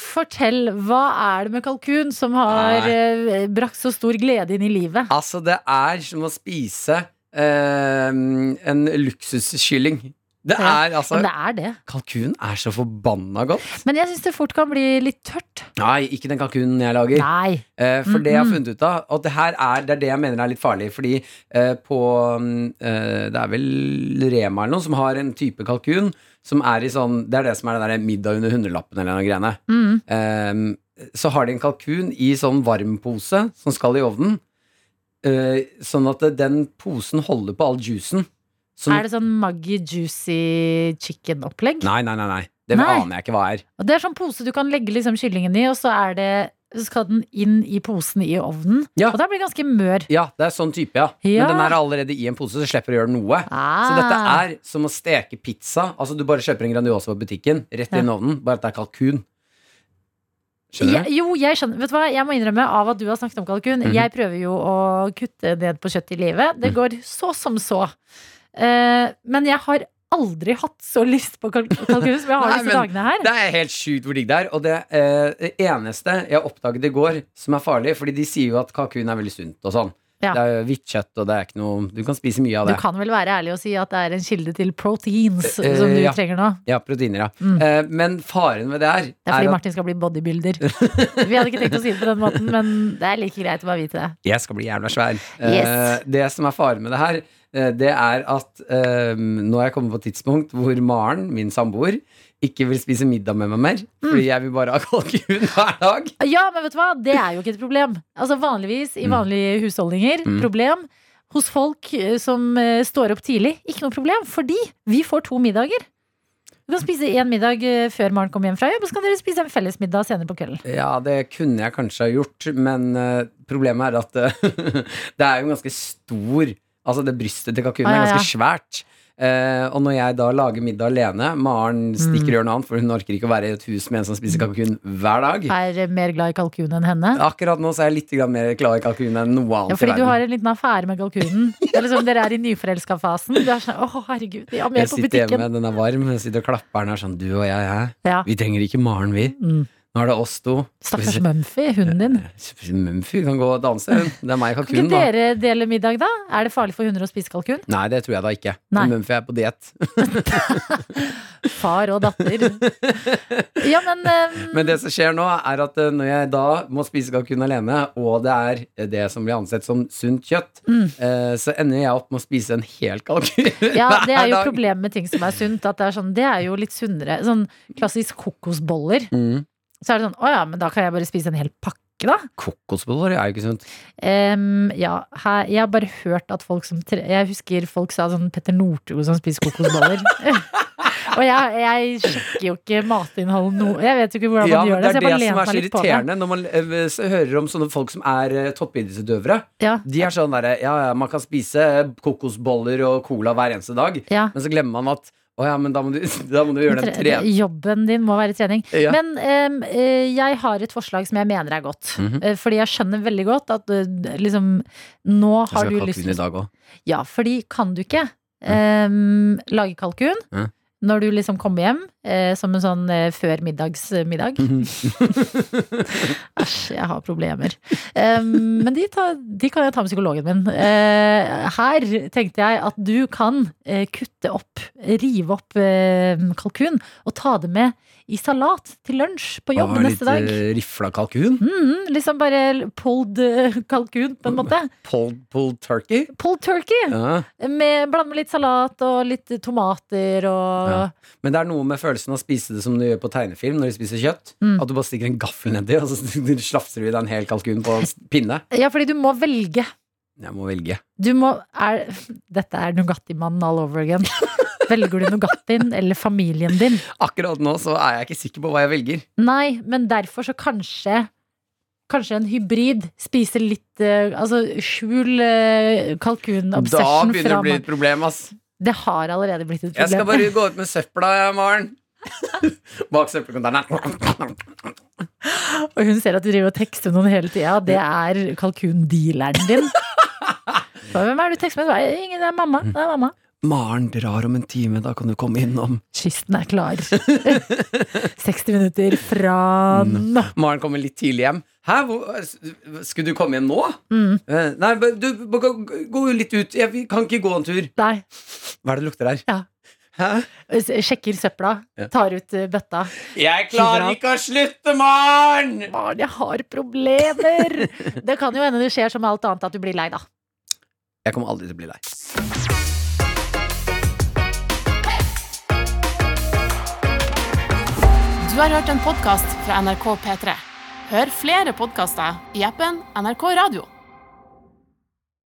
Speaker 2: Fortell. Hva er det med kalkun som har eh, brakt så stor glede inn i livet?
Speaker 3: (laughs) altså, det er som å spise eh, en luksuskylling. Det
Speaker 2: Ja,
Speaker 3: er altså
Speaker 2: Men det er det.
Speaker 3: Kalkun er så forbanna godt.
Speaker 2: Men jeg syns det fort kan bli litt tørt.
Speaker 3: Nei, ikke den kalkunen jeg lager.
Speaker 2: Nei.
Speaker 3: Eh, for det jeg har
Speaker 2: Mhm.
Speaker 3: funnet ut av, og det her er det, er det jeg mener er litt farlig, fordi eh, på mm, eh, Det er vel Rema eller noe som har en type kalkun som er i sånn Det er det som er den der middag under hundrelappen eller noe greiene.
Speaker 2: Mm.
Speaker 3: Ehm, så har de en kalkun i sånn varmpose som skal i ovnen. eh, sånn at den posen holder på all juicen. Sånn,
Speaker 2: Er det sånn Maggi juicy chicken-opplegg?
Speaker 3: Nei, nei, nei. nei. Det
Speaker 2: Nei.
Speaker 3: aner jeg ikke hva er.
Speaker 2: Og Det er sånn pose du kan legge liksom kyllingen i, og så, er det, så skal den inn i posen i ovnen.
Speaker 3: Ja.
Speaker 2: Og da blir den ganske mør.
Speaker 3: Ja, det er sånn type, ja.
Speaker 2: Ja.
Speaker 3: Men den er allerede i en pose, så slipper du å gjøre noe.
Speaker 2: Ah.
Speaker 3: Så dette er som å steke pizza. Altså Du bare kjøper en Grandiosa på butikken, rett inn i ovnen, bare at det er kalkun. Skjønner du?
Speaker 2: Jeg, jo, jeg skjønner. Vet du hva, jeg må innrømme av at du har snakket om kalkun.
Speaker 3: Mhm.
Speaker 2: Jeg prøver jo å kutte ned på kjøtt i livet. Det går så som så. Eh, men jeg har aldri hatt så lyst på kalk kalkun som jeg har
Speaker 3: Nei,
Speaker 2: disse
Speaker 3: men
Speaker 2: dagene her.
Speaker 3: Det er helt sjukt hvor digg det er. Og det eh, eneste jeg oppdaget i går som er farlig, fordi de sier jo at kalkun er veldig sunt og sånn.
Speaker 2: Ja.
Speaker 3: Det er jo hvitt kjøtt, og det er ikke noe Du kan spise mye av
Speaker 2: Du
Speaker 3: det.
Speaker 2: kan vel være ærlig og si at det er en kilde til proteins
Speaker 3: Eh,
Speaker 2: som du
Speaker 3: ja.
Speaker 2: trenger nå?
Speaker 3: Ja, proteiner, ja.
Speaker 2: Mm.
Speaker 3: Eh, men faren med det her
Speaker 2: Det er fordi
Speaker 3: at-
Speaker 2: Martin skal bli
Speaker 3: (laughs)
Speaker 2: bodybuilder. Vi hadde ikke tenkt å si det på den måten, men det er like greit å bare vite det.
Speaker 3: Jeg skal bli jævla svær.
Speaker 2: Yes.
Speaker 3: Eh, det som er faren med det her, eh, det er at eh, nå har jeg kommet på et tidspunkt hvor Maren, min samboer, ikke vil spise middag med meg mer. Fordi jeg vil bare ha kalkun hver dag.
Speaker 2: Ja, men vet du hva? Det er jo ikke et problem. Altså Vanligvis i vanlige husholdninger.
Speaker 3: Mm.
Speaker 2: Problem hos folk eh, som eh, står opp tidlig. Ikke noe problem, fordi vi får to middager. Du kan spise én middag eh, før Maren kommer hjem fra jobb, og så kan dere spise en fellesmiddag senere på kvelden.
Speaker 3: Ja, det kunne jeg kanskje ha gjort, men eh, problemet (laughs) er at eh, det er jo ganske stor Altså, det brystet til kalkunen
Speaker 2: Ah, ja,
Speaker 3: er
Speaker 2: ja.
Speaker 3: ganske svært. Eh, og når jeg da lager middag alene Maren stikker og gjør noe annet, for hun orker ikke å være i et hus med en som spiser kalkun hver dag.
Speaker 2: Er eh, mer glad i kalkun enn henne?
Speaker 3: Akkurat nå så er jeg litt grann mer glad i kalkun enn noe
Speaker 2: Ja,
Speaker 3: annet i
Speaker 2: fordi du
Speaker 3: verden.
Speaker 2: har en liten affære med kalkunen.
Speaker 3: (laughs)
Speaker 2: Det er liksom, dere er i nyforelska fasen. Du er sånn, å herregud, de har mer
Speaker 3: Jeg
Speaker 2: på
Speaker 3: sitter hjemme,
Speaker 2: butikken.
Speaker 3: den er varm, jeg sitter og klapper den her sånn, du og jeg, hæ?
Speaker 2: Ja.
Speaker 3: Vi trenger ikke Maren, vi.
Speaker 2: Mm.
Speaker 3: Nå er det oss to.
Speaker 2: Stakkars Mumphy, hunden din.
Speaker 3: Mumphy kan gå og danse, hun. Det er meg og
Speaker 2: Kan ikke
Speaker 3: kalkunen, da.
Speaker 2: dere dele middag, da? Er det farlig for hunder å spise kalkun?
Speaker 3: Nei, det tror jeg da ikke.
Speaker 2: Nei.
Speaker 3: Men Mumphy er på diett. (laughs)
Speaker 2: Far og datter. Ja, men
Speaker 3: (laughs)
Speaker 2: ehm,
Speaker 3: Men det som skjer nå, er at eh, når jeg da må spise kalkun alene, og det er eh, det som blir ansett som sunt kjøtt,
Speaker 2: Mm.
Speaker 3: eh, så ender jeg opp med å spise en hel kalkun
Speaker 2: ja,
Speaker 3: hver
Speaker 2: det er jo
Speaker 3: dag.
Speaker 2: problemet med ting som er sunt. At det, er sånn, det er jo litt sunnere. Sånn klassisk kokosboller.
Speaker 3: Mm.
Speaker 2: Så er det sånn, å ja, men da kan jeg bare spise en hel pakke, da.
Speaker 3: Kokosboller er jo ikke sunt.
Speaker 2: Ehm, ja, her, jeg har bare hørt at folk som tre, Jeg husker folk sa sånn Petter Northug som spiser kokosboller. (laughs) Og jeg, jeg sjekker jo ikke matinnholdet nå. Jeg vet jo ikke hvordan man
Speaker 3: Ja,
Speaker 2: gjør
Speaker 3: men
Speaker 2: det.
Speaker 3: det
Speaker 2: så jeg
Speaker 3: er det
Speaker 2: bare
Speaker 3: som
Speaker 2: lener
Speaker 3: er
Speaker 2: meg
Speaker 3: så
Speaker 2: litt på det.
Speaker 3: irriterende når man eh, s- hører om sånne folk som er eh, toppidrettsutøvere.
Speaker 2: Ja,
Speaker 3: De er sånn derre Ja, ja, man kan spise eh, kokosboller og cola hver eneste dag,
Speaker 2: ja.
Speaker 3: men så glemmer man at å ja, men da må du, (laughs) da må du gjøre den
Speaker 2: Tre-
Speaker 3: treningen.
Speaker 2: Jobben din må være trening.
Speaker 3: Ja.
Speaker 2: Men ehm, eh, jeg har et forslag som jeg mener er godt.
Speaker 3: Mhm.
Speaker 2: Eh, fordi jeg skjønner veldig godt at eh, liksom Nå har du lyst til
Speaker 3: dag òg.
Speaker 2: Ja, fordi kan du ikke ehm, lage kalkun
Speaker 3: Mm.
Speaker 2: når du liksom kommer hjem eh, som en sånn eh, før middagsmiddag?
Speaker 3: Mhm.
Speaker 2: (laughs) Æsj, jeg har problemer. Ehm, men de, ta, de kan jeg ta med psykologen min. Eh, her tenkte jeg at du kan eh, kutte opp, rive opp eh, kalkun og ta det med i salat til lunsj på jobb neste dag.
Speaker 3: Litt eh, rifla kalkun.
Speaker 2: Mm, liksom bare pulled eh, kalkun, på en måte.
Speaker 3: Pulled, pulled turkey.
Speaker 2: Pulled turkey!
Speaker 3: Ja.
Speaker 2: Med, bland med litt salat og litt tomater og
Speaker 3: Ja. Men det er noe med følelsen av å spise det som du gjør på tegnefilm når du spiser kjøtt.
Speaker 2: Mm.
Speaker 3: At du bare stikker en gaffel nedi, og så slafser (laughs) du i deg en hel kalkun på en s- pinne.
Speaker 2: Ja, fordi du må velge.
Speaker 3: Jeg må velge.
Speaker 2: Du må er, Dette er Nugatti-mannen all over
Speaker 3: (laughs)
Speaker 2: again. Velger du Nugattien eller familien din?
Speaker 3: Akkurat nå så er jeg ikke sikker på hva jeg velger.
Speaker 2: Nei, men derfor så kanskje Kanskje en hybrid. Spise litt eh, Altså skjul eh,
Speaker 3: Da
Speaker 2: kalkunobsession
Speaker 3: begynner det
Speaker 2: fra
Speaker 3: å bli et problem, ass.
Speaker 2: Det har allerede blitt et problem.
Speaker 3: Jeg skal bare gå ut med søpla, jeg, Maren. (laughs) Bak søppelkonteineren.
Speaker 2: (laughs) Og hun ser at du driver og tekster noen hele tida. Det er kalkundealeren
Speaker 3: (laughs)
Speaker 2: din. Så, Hvem er det du tekster med? Det er Ingen, det er mamma.
Speaker 3: Mm.
Speaker 2: Det er mamma.
Speaker 3: Maren drar om en time, da kan du komme innom.
Speaker 2: Kisten er klar. (laughs) 60 minutter fra nå.
Speaker 3: Maren kommer litt tidlig hjem. Hæ, hvor, s- skulle du komme hjem nå?
Speaker 2: Mm.
Speaker 3: Eh, Nei, men du, b- gå- gå litt ut. Jeg vi kan ikke gå en tur.
Speaker 2: Nei.
Speaker 3: Hva er det det lukter her?
Speaker 2: Ja.
Speaker 3: Hæ?
Speaker 2: S- Sjekker søpla.
Speaker 3: Ja.
Speaker 2: Tar ut eh, bøtta.
Speaker 3: Jeg
Speaker 2: klarer
Speaker 3: ikke å slutte, Maren!
Speaker 2: Barn, jeg har problemer! Det kan jo hende det skjer som med alt annet, at du blir lei, da.
Speaker 3: Jeg kommer aldri til å bli lei.
Speaker 1: Du har hørt en podkast fra NRK P3. Hør flere podkaster i appen NRK Radio.